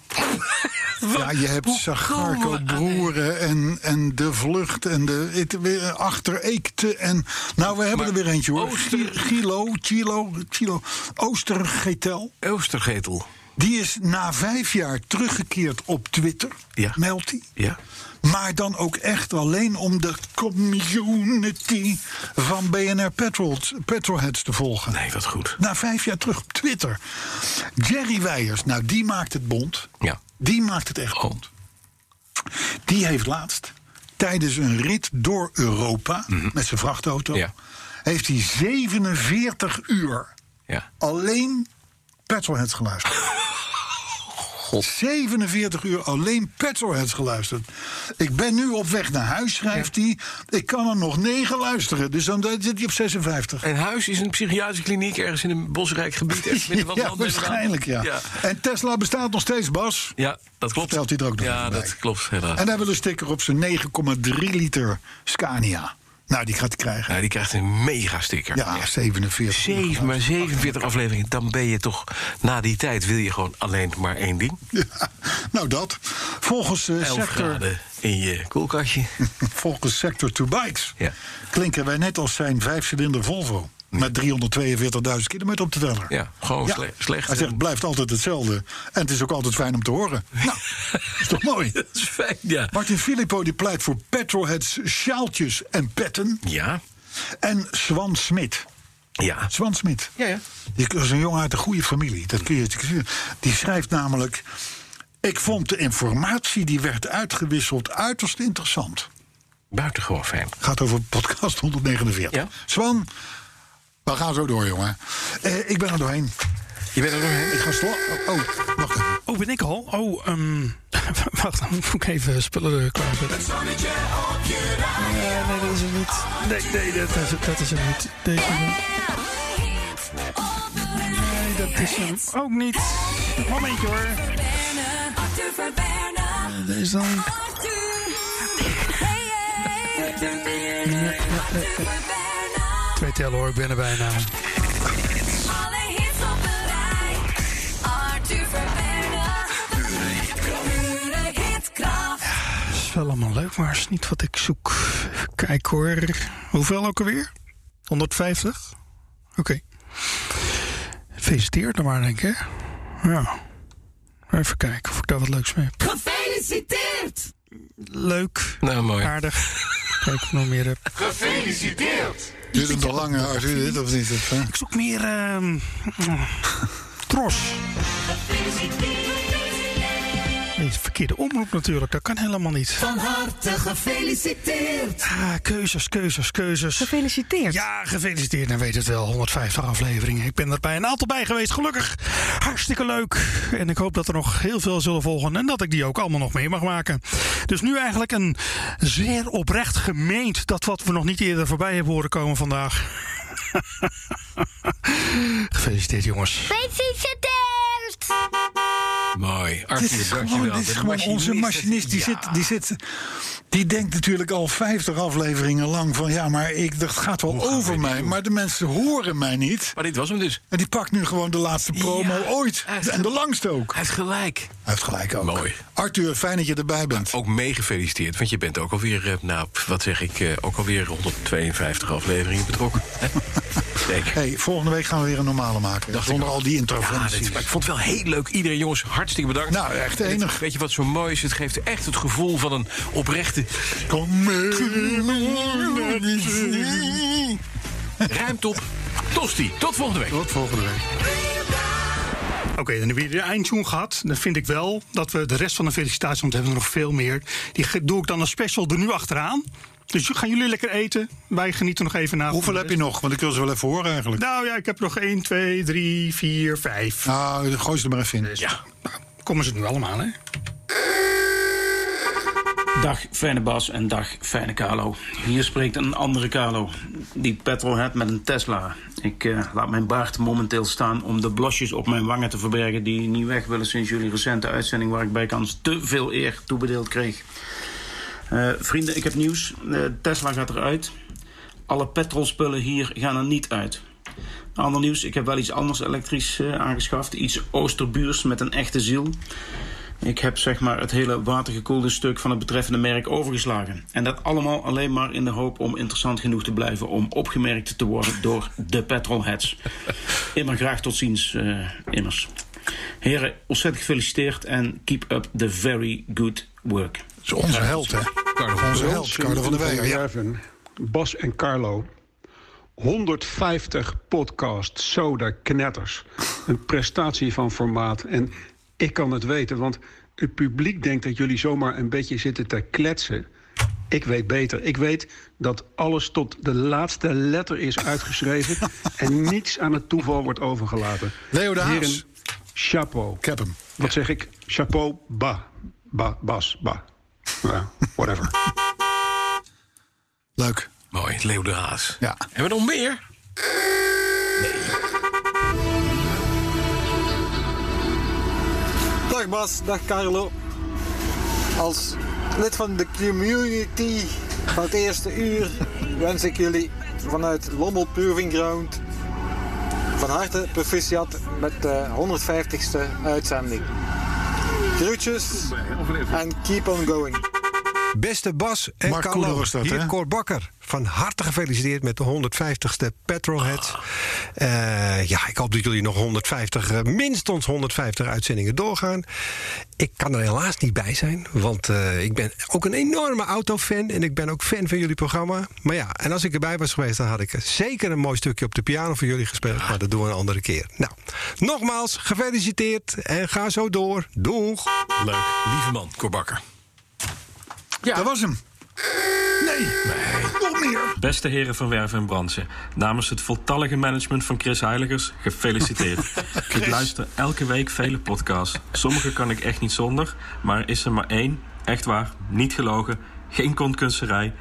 [SPEAKER 2] ja, je hebt Sagarco Broeren en, en De Vlucht en de het, weer Achter Eekte. En, nou, we hebben er weer eentje hoor. Gilo, Chilo, Chilo. Oostergetel.
[SPEAKER 3] Oostergetel.
[SPEAKER 2] Die is na vijf jaar teruggekeerd op Twitter, meldt hij.
[SPEAKER 3] Ja.
[SPEAKER 2] Maar dan ook echt alleen om de community van BNR Petrol, Petrolheads te volgen.
[SPEAKER 3] Nee, wat goed.
[SPEAKER 2] Na vijf jaar terug op Twitter. Jerry Weijers, nou die maakt het bond.
[SPEAKER 3] Ja. Oh.
[SPEAKER 2] Die maakt het echt bond. Die heeft laatst tijdens een rit door Europa
[SPEAKER 3] Mhm.
[SPEAKER 2] met zijn vrachtauto... heeft hij 47 uur
[SPEAKER 3] Ja.
[SPEAKER 2] alleen Petrolheads geluisterd. 47 uur alleen Petrolheads geluisterd. Ik ben nu op weg naar huis, schrijft hij. Ik kan er nog 9 luisteren, dus dan zit hij op 56.
[SPEAKER 3] Een huis is een psychiatrische kliniek ergens in een bosrijk gebied. Ergens midden van het
[SPEAKER 2] Ja,
[SPEAKER 3] land en
[SPEAKER 2] waarschijnlijk, ja.
[SPEAKER 3] eraan. ja.
[SPEAKER 2] En Tesla bestaat nog steeds, Bas.
[SPEAKER 3] Ja, dat klopt.
[SPEAKER 2] Vertelt hij er ook nog
[SPEAKER 3] Ja,
[SPEAKER 2] even bij.
[SPEAKER 3] dat klopt helaas.
[SPEAKER 2] En hij wil een sticker op zijn 9,3 liter Scania. Nou, die gaat hij krijgen.
[SPEAKER 3] Nou, die krijgt een mega sticker.
[SPEAKER 2] Ja, 47.
[SPEAKER 3] Zeven, maar 47 afleveringen, dan ben je toch... Na die tijd wil je gewoon alleen maar één ding.
[SPEAKER 2] Nou, dat. Volgens eh,
[SPEAKER 3] 11
[SPEAKER 2] sector
[SPEAKER 3] graden in je koelkastje.
[SPEAKER 2] Volgens Sector 2 Bikes
[SPEAKER 3] Ja.
[SPEAKER 2] klinken wij net als zijn vijfcilinder Volvo. Met 342.000 kilometer op de teller.
[SPEAKER 3] Ja, gewoon sle- slecht.
[SPEAKER 2] Hij zegt, het blijft altijd hetzelfde. En het is ook altijd fijn om te horen. Nou, is toch mooi? Dat
[SPEAKER 3] is fijn, ja.
[SPEAKER 2] Martin Filippo die pleit voor petrolheads, sjaaltjes en petten.
[SPEAKER 3] Ja.
[SPEAKER 2] En Swan Smit.
[SPEAKER 3] Ja.
[SPEAKER 2] Swan Smit.
[SPEAKER 3] Ja, ja.
[SPEAKER 2] Die is een jongen uit een goede familie. Dat kun je, die schrijft namelijk... Ik vond de informatie die werd uitgewisseld uiterst interessant.
[SPEAKER 3] Buitengewoon fijn.
[SPEAKER 2] Gaat over podcast 149. Swan, we gaan zo door, jongen. Eh, ik ben er doorheen.
[SPEAKER 3] Je bent er doorheen?
[SPEAKER 2] Ik ga sla. Oh, oh, wacht even.
[SPEAKER 15] Oh, ben ik al? Oh, ehm wacht, dan moet ik even spullen eh, klaarzetten. Eh, nee, dat is het niet. Nee, nee, dat is, dat is het niet. Deze. Nee, dat is hem ook niet. Momentje hoor. Deze dan. Twee tellen hoor, ik ben er bijna. Dat is wel allemaal leuk, maar is niet wat ik zoek. Even kijken hoor. Hoeveel ook alweer? 150? Oké. Feliciteer dan maar, denk ik. hè? Ja. Even kijken of ik daar wat leuks mee heb.
[SPEAKER 11] Gefeliciteerd!
[SPEAKER 15] Leuk.
[SPEAKER 3] Nou, mooi.
[SPEAKER 15] Aardig. Kijk of ik nog meer heb.
[SPEAKER 11] Gefeliciteerd!
[SPEAKER 2] Duurt het nog langer als u dit of niet? Of, hè?
[SPEAKER 15] Ik zoek meer... ehm, tros. Nee, verkeerde omroep natuurlijk. Dat kan helemaal niet.
[SPEAKER 11] Van harte gefeliciteerd!
[SPEAKER 15] Ah, keuzes, keuzes, keuzes.
[SPEAKER 22] Gefeliciteerd.
[SPEAKER 15] Ja, gefeliciteerd. Dan weet het wel. 150 afleveringen. Ik ben er bij een aantal bij geweest, gelukkig. Hartstikke leuk. En ik hoop dat er nog heel veel zullen volgen. En dat ik die ook allemaal nog mee mag maken. Dus nu eigenlijk een zeer oprecht gemeend... dat wat we nog niet eerder voorbij hebben horen komen vandaag. gefeliciteerd, jongens.
[SPEAKER 3] Mooi.
[SPEAKER 2] Dit is gewoon, dit is gewoon onze machinist. Die, zit, die, zit, die denkt natuurlijk al 50 afleveringen lang van... ja, maar ik, dat gaat wel over mij. Maar de mensen horen mij niet.
[SPEAKER 3] Maar dit was hem dus.
[SPEAKER 2] En die pakt nu gewoon de laatste promo ooit. En de langste ook. Hij
[SPEAKER 3] heeft gelijk. Hij
[SPEAKER 2] heeft gelijk ook.
[SPEAKER 3] Mooi.
[SPEAKER 2] Arthur, fijn dat je erbij bent.
[SPEAKER 3] Ook mee gefeliciteerd, want je bent ook alweer, eh, nou, p- wat zeg ik, eh, ook alweer 152 afleveringen betrokken. Hè? Zeker.
[SPEAKER 2] Hey, volgende week gaan we weer een normale maken. Zonder al die
[SPEAKER 3] Ja,
[SPEAKER 2] interventies.
[SPEAKER 3] dit- maar ik vond het wel heel leuk. Iedereen, jongens, hartstikke bedankt. Nou, echt enig. weet je wat zo mooi is? Het geeft echt het gevoel van een oprechte...
[SPEAKER 2] Kom
[SPEAKER 3] Ruimt Mm. op. Tosti. Tot volgende week.
[SPEAKER 2] Tot volgende week.
[SPEAKER 15] Oké, dan hebben jullie de eindzoen gehad. Dan vind ik wel dat we de rest van de felicitaties, want we hebben er nog veel meer. Die ge- doe ik dan als special er nu achteraan. Dus j- gaan jullie lekker eten. Wij genieten nog even na.
[SPEAKER 2] Hoeveel heb je nog? Want ik wil ze wel even horen eigenlijk.
[SPEAKER 15] Nou ja, ik heb nog 1, 2, 3, 4, 5.
[SPEAKER 2] Nou, gooi ze er maar even in.
[SPEAKER 15] Ja. Komen ze nu allemaal, hè?
[SPEAKER 21] Dag fijne Bas en dag fijne Carlo. Hier spreekt een andere Carlo, die petrolhead met een Tesla. Ik eh, laat mijn baard momenteel staan om de blosjes op mijn wangen te verbergen... die niet weg willen sinds jullie recente uitzending... waar ik bijkans te veel eer toebedeeld kreeg. Eh, vrienden, ik heb nieuws. Eh, Tesla gaat eruit. Alle petrolspullen hier gaan er niet uit. Ander nieuws, ik heb wel iets anders elektrisch eh, aangeschaft. Iets Oosterbuurs met een echte ziel. Ik heb zeg maar het hele watergekoelde stuk van het betreffende merk overgeslagen. En dat allemaal alleen maar in de hoop om interessant genoeg te blijven om opgemerkt te worden door de petrolheads. Immer graag tot ziens, eh, immers. Heren, ontzettend gefeliciteerd en keep up the very good work. Dat is
[SPEAKER 2] onze held, hè?
[SPEAKER 12] Onze held, Carlo van der Weijer. Bas en Carlo. 150 podcast Soda Knetters. Een prestatie van formaat. En ik kan het weten, want het publiek denkt dat jullie zomaar een beetje zitten te kletsen. Ik weet beter. Ik weet dat alles tot de laatste letter is uitgeschreven. en niets aan het toeval wordt overgelaten.
[SPEAKER 2] Leo de Haas.
[SPEAKER 12] Heren, chapeau. Ik
[SPEAKER 2] heb hem.
[SPEAKER 12] Wat zeg ik? Chapeau, ba. Ba, Bas, ba. Nou ja, whatever.
[SPEAKER 2] Leuk.
[SPEAKER 3] Mooi, Leo de Haas.
[SPEAKER 2] Ja.
[SPEAKER 3] Hebben we nog meer?
[SPEAKER 23] Dag Bas, dag Carlo. Als lid van de community van het eerste uur wens ik jullie vanuit Lommel Proving Ground van harte proficiat met de 150ste uitzending. Groetjes en keep on going. Beste Bas en
[SPEAKER 2] Mark
[SPEAKER 23] Carlo,
[SPEAKER 2] Koenen was dat,
[SPEAKER 23] hier
[SPEAKER 2] hè?
[SPEAKER 23] Cor Bakker. Van harte gefeliciteerd met de 150ste Petrolhead. Eh, ja, ik hoop dat jullie nog 150, eh, minstens 150 uitzendingen doorgaan. Ik kan er helaas niet bij zijn, want eh, ik ben ook een enorme autofan. En ik ben ook fan van jullie programma. Maar ja, en als ik erbij was geweest, dan had ik zeker een mooi stukje op de piano voor jullie gespeeld. Maar dat doen we een andere keer. Nou, nogmaals, gefeliciteerd en ga zo door. Doeg!
[SPEAKER 24] Leuk, lieve man, Cor Bakker.
[SPEAKER 2] Ja. Dat was hem. Nee. Nog meer.
[SPEAKER 25] Beste heren van Werven en Bransen, namens het voltallige management van Chris Heiligers, gefeliciteerd. Ik luister elke week vele podcasts. Sommige kan ik echt niet zonder, maar er is er maar één, echt waar, niet gelogen, geen kontkunsterij.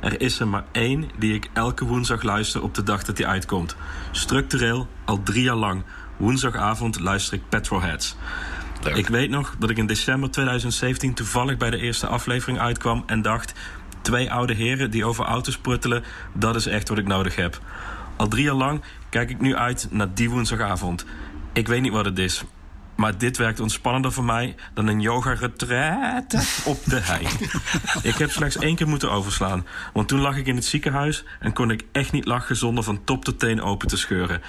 [SPEAKER 25] Er is er maar één die ik elke woensdag luister op de dag dat die uitkomt. Structureel, al drie jaar lang. Woensdagavond luister ik Petrolheads. Ik weet nog dat ik in december 2017 toevallig bij de eerste aflevering uitkwam en dacht: twee oude heren die over auto's pruttelen, dat is echt wat ik nodig heb. Al drie jaar lang kijk ik nu uit naar die woensdagavond. Ik weet niet wat het is, maar dit werkt ontspannender voor mij dan een yoga-retraite op de hei. Ik heb slechts één keer moeten overslaan. Want toen lag ik in het ziekenhuis en kon ik echt niet lachen zonder van top tot teen open te scheuren.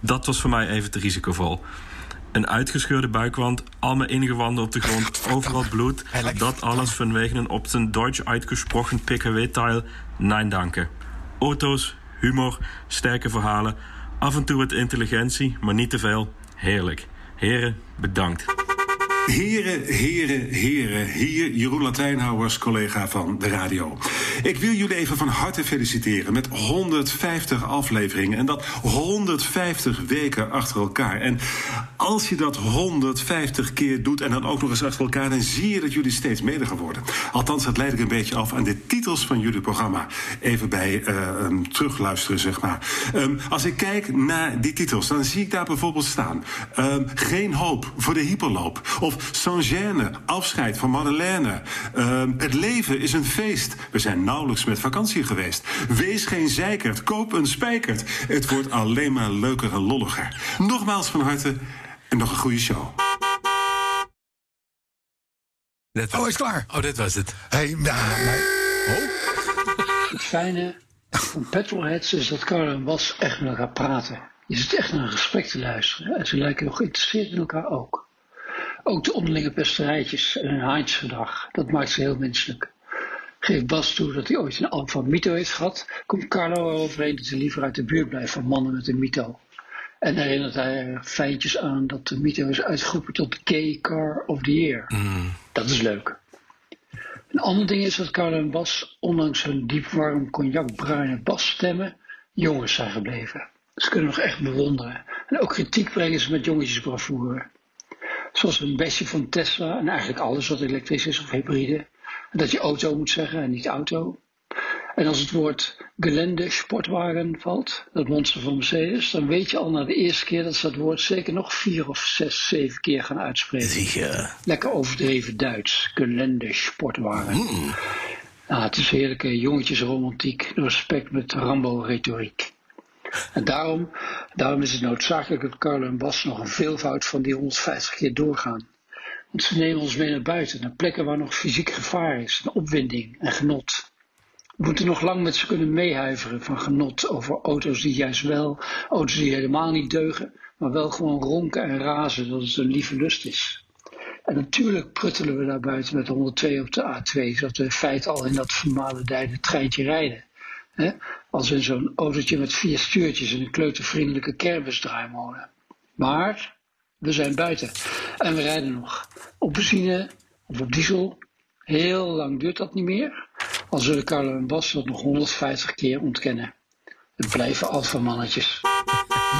[SPEAKER 25] Dat was voor mij even te risicovol. Een uitgescheurde buikwand, al mijn ingewanden op de grond, overal bloed. Dat alles vanwege een op zijn Duits uitgesproken PKW-tile. Nein, danke. Auto's, humor, sterke verhalen. Af en toe wat intelligentie, maar niet te veel. Heerlijk. Heren, bedankt.
[SPEAKER 26] Heren, heren, heren, hier Jeroen Latijnhouwers, collega van de radio. Ik wil jullie even van harte feliciteren met 150 afleveringen en dat 150 weken achter elkaar. En als je dat 150 keer doet en dan ook nog eens achter elkaar, dan zie je dat jullie steeds mediger worden. Althans, dat leid ik een beetje af aan de titels van jullie programma. Even bij eh, ehm, terugluisteren, zeg maar. Ehm, als ik kijk naar die titels, dan zie ik daar bijvoorbeeld staan: ehm, Geen hoop voor de hyperloop. Of Sans gêne, afscheid van Madeleine. Ehm, het leven is een feest. We zijn nauwelijks met vakantie geweest. Wees geen zeikert, koop een spijkert. Het wordt alleen maar leuker en lolliger. Nogmaals van harte en nog een goede show.
[SPEAKER 2] Oh, hij is klaar.
[SPEAKER 24] Oh, dit was het.
[SPEAKER 2] Hey, nou, maar-
[SPEAKER 27] Het fijne van Petrolheads is dat Carlo en Bas echt met elkaar praten. Je zit echt naar een gesprek te luisteren en ze lijken nog geïnteresseerd in elkaar ook. Ook de onderlinge pesterijtjes en hun Heinz-gedrag, dat maakt ze heel menselijk. Geeft Bas toe dat hij ooit een alfa mito heeft gehad, komt Carlo eroverheen dat hij liever uit de buurt blijft van mannen met een mito. En herinnert hij er feitjes aan dat de mito is uitgeroepen tot Gay Car of the Year.
[SPEAKER 3] Mm.
[SPEAKER 27] Dat is leuk. Een ander ding is dat Carlo en Bas, ondanks hun diep warm cognacbruine basstemmen, jongens zijn gebleven. Ze kunnen nog echt bewonderen. En ook kritiek brengen ze met jongetjesbravoure. Zoals een bestje van Tesla en eigenlijk alles wat elektrisch is of hybride. En dat je auto moet zeggen en niet auto. En als het woord gelende sportwagen valt, dat monster van Mercedes, dan weet je al na de eerste keer dat ze dat woord zeker nog vier of zes, zeven keer gaan uitspreken. Lekker overdreven Duits, gelende sportwagen. Nou, het is heerlijke jongetjesromantiek, respect met Rambo-retoriek. En daarom, daarom is het noodzakelijk dat Carlo en Bas nog een veelvoud van die 150 keer doorgaan. Want ze nemen ons mee naar buiten, naar plekken waar nog fysiek gevaar is, naar opwinding en genot. We moeten nog lang met ze kunnen meehuiveren van genot over auto's die juist wel, auto's die helemaal niet deugen, maar wel gewoon ronken en razen dat het een lieve lust is. En natuurlijk pruttelen we daar buiten met 102 op de A2, zodat we in feite al in dat vermalendijde treintje rijden. Hè? Als in zo'n autootje met vier stuurtjes en een kleutervriendelijke kermisdraaimolen. Maar we zijn buiten en we rijden nog. Op benzine of op diesel. Heel lang duurt dat niet meer. Al zullen Carlo en Bas dat nog 150 keer ontkennen. Het blijven alfamannetjes.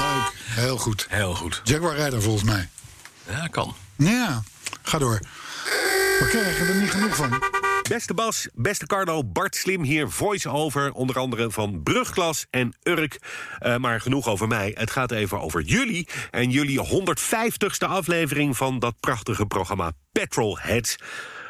[SPEAKER 2] Leuk. Heel goed.
[SPEAKER 24] Heel goed.
[SPEAKER 2] Jaguar rijder volgens mij.
[SPEAKER 24] Ja, kan.
[SPEAKER 2] Ja, ga door. We krijgen er niet genoeg van.
[SPEAKER 28] Beste Bas, beste Carlo, Bart Slim hier, voice-over, onder andere van Brugklas en Urk. Eh, maar genoeg over mij, het gaat even over jullie en jullie 150ste aflevering van dat prachtige programma Petrolheads.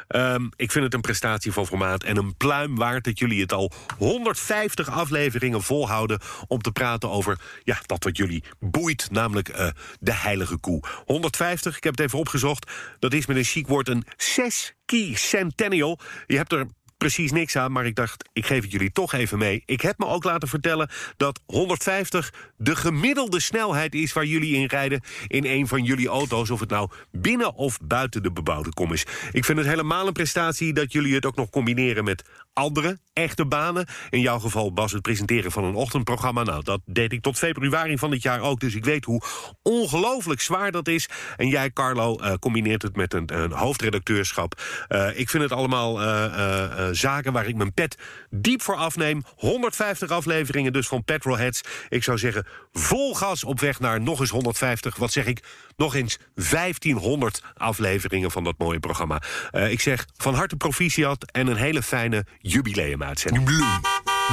[SPEAKER 28] Ehm, ik vind het een prestatie van formaat en een pluim waard dat jullie het al 150 afleveringen volhouden om te praten over ja, dat wat jullie boeit, namelijk eh, de heilige koe. 150, ik heb het even opgezocht, dat is met een chic woord een 6 Key Centennial. Je hebt er precies niks aan, maar ik dacht, ik geef het jullie toch even mee. Ik heb me ook laten vertellen dat 150 de gemiddelde snelheid is waar jullie in rijden in een van jullie auto's, of het nou binnen of buiten de bebouwde kom is. Ik vind het helemaal een prestatie dat jullie het ook nog combineren met andere echte banen. In jouw geval was het presenteren van een ochtendprogramma. Nou, dat deed ik tot februari van dit jaar ook. Dus ik weet hoe ongelooflijk zwaar dat is. En jij, Carlo, eh, combineert het met een, een hoofdredacteurschap. Eh, ik vind het allemaal eh, eh, eh, zaken waar ik mijn pet diep voor afneem. 150 afleveringen dus van Petrolheads. Ik zou zeggen, vol gas op weg naar nog eens 150. Wat zeg ik? Nog eens 1500 afleveringen van dat mooie programma. Eh, ik zeg van harte proficiat en een hele fijne jubileumuitzending.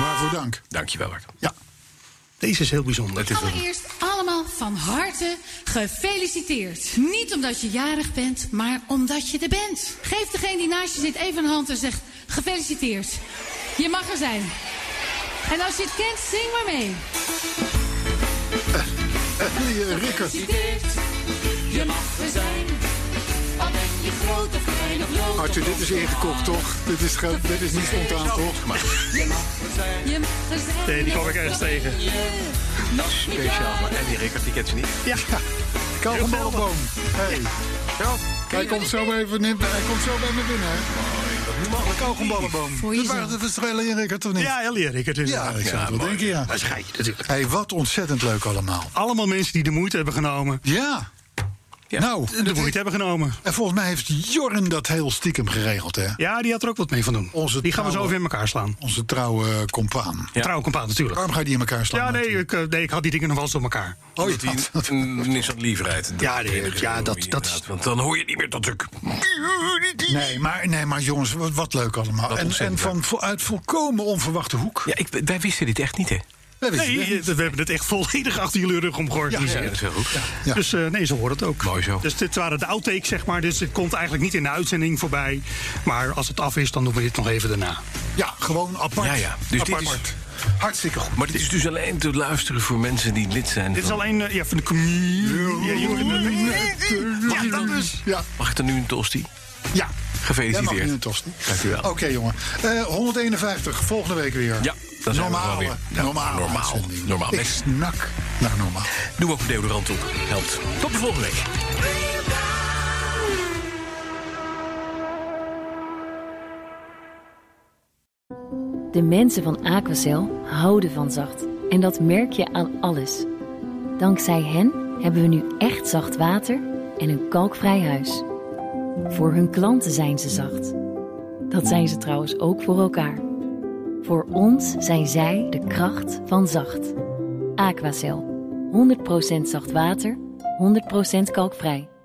[SPEAKER 2] Waarvoor dank.
[SPEAKER 28] Dankjewel, Bart.
[SPEAKER 2] Ja.
[SPEAKER 28] Deze is heel bijzonder.
[SPEAKER 29] Allereerst allemaal van harte gefeliciteerd. Niet omdat je jarig bent, maar omdat je er bent. Geef degene die naast je zit even een hand en zeg gefeliciteerd. Je mag er zijn. En als je het kent, zing maar mee.
[SPEAKER 2] Rikker.
[SPEAKER 29] Je mag er zijn. Al ben je groot of klein of lood of
[SPEAKER 2] Arthur, dit is
[SPEAKER 29] groot.
[SPEAKER 2] ingekocht, toch? Dit is, ge- dit is niet spontaan, toch?
[SPEAKER 29] Je mag er zijn. Je mag er zijn.
[SPEAKER 2] Nee, die kwam ik ergens tegen.
[SPEAKER 29] Speciaal,
[SPEAKER 3] maar en die Rickert, die kent ze niet.
[SPEAKER 2] Ja, Kalgenbalboom. Hey. Hij komt zo even in, hij komt zo bij me binnen. hè? Mooi. Mogelijk kalgenballenboom. Dit waren de verschillen in Rickert, of niet?
[SPEAKER 15] Ja, Ellie Rickert is
[SPEAKER 2] Ja, ik zou het wel denken, ja.
[SPEAKER 15] natuurlijk.
[SPEAKER 2] Hey, wat ontzettend leuk allemaal.
[SPEAKER 15] Allemaal mensen die de moeite hebben genomen.
[SPEAKER 2] Ja. Nou,
[SPEAKER 15] de moeite hebben genomen.
[SPEAKER 2] En volgens mij heeft Jorn dat heel stiekem geregeld, hè?
[SPEAKER 15] Ja, die had er ook wat mee van doen.
[SPEAKER 2] Onze
[SPEAKER 15] Die gaan we zo
[SPEAKER 2] trouwe-
[SPEAKER 15] even in elkaar slaan.
[SPEAKER 2] Onze trouwe compaan.
[SPEAKER 15] Ja. Trouwe compaan, natuurlijk.
[SPEAKER 2] Waarom ga je die in elkaar slaan?
[SPEAKER 15] Ja, nee ik, eh, nee, ik had die dingen nog wel eens door elkaar.
[SPEAKER 2] Oh,
[SPEAKER 3] dat hij niks aan liefheid. Ja, ja dat, dat, want dan hoor je niet meer dat druk.
[SPEAKER 2] Nee, maar, nee, maar jongens, wat, wat leuk allemaal. en en
[SPEAKER 3] ontzettend
[SPEAKER 2] van, vo- uit volkomen onverwachte hoek.
[SPEAKER 3] Ja, ik, wij wisten dit echt niet, hè?
[SPEAKER 2] Nee, wist je
[SPEAKER 15] Nee,
[SPEAKER 2] het
[SPEAKER 15] eh, we hebben het echt volledig achter jullie rug om georganiseerd.
[SPEAKER 3] Ja, ja, dat is heel goed.
[SPEAKER 2] Ja.
[SPEAKER 15] Dus eh, nee, zo hoort het ook.
[SPEAKER 3] Mooi zo.
[SPEAKER 15] Dus dit waren de outtakes, zeg maar. Dus het komt eigenlijk niet in de uitzending voorbij. Maar als het af is, dan doen we dit nog even daarna.
[SPEAKER 2] Ja, gewoon apart.
[SPEAKER 3] Ja, ja. Dus dit is-
[SPEAKER 2] apart. Hartstikke goed.
[SPEAKER 3] Maar dit is dus alleen te luisteren voor mensen die lid zijn.
[SPEAKER 15] Dit is
[SPEAKER 3] van-
[SPEAKER 15] alleen eh, ja, van de community.
[SPEAKER 2] Ja, dat dus. Ja,
[SPEAKER 3] Mag ik dan nu een tosti?
[SPEAKER 2] ja.
[SPEAKER 3] Gefeliciteerd.
[SPEAKER 2] Jij mag nu een tosti.
[SPEAKER 3] Dank u wel.
[SPEAKER 2] Oké, jongen. Eh, 151, volgende week weer.
[SPEAKER 3] Ja, dan zijn we er
[SPEAKER 2] normaal.
[SPEAKER 3] gewoon weer. Ja,
[SPEAKER 2] normaal.
[SPEAKER 3] normaal. Normaal.
[SPEAKER 2] Ik snak naar nou, normaal.
[SPEAKER 3] Doe ook een deodorant op. Helpt. Tot de volgende week.
[SPEAKER 30] De mensen van Aquacel houden van zacht. En dat merk je aan alles. Dankzij hen hebben we nu echt zacht water en een kalkvrij huis. Voor hun klanten zijn ze zacht. Dat zijn ze trouwens ook voor elkaar. Voor ons zijn zij de kracht van zacht. Aquacel. 100% zacht water, 100% kalkvrij.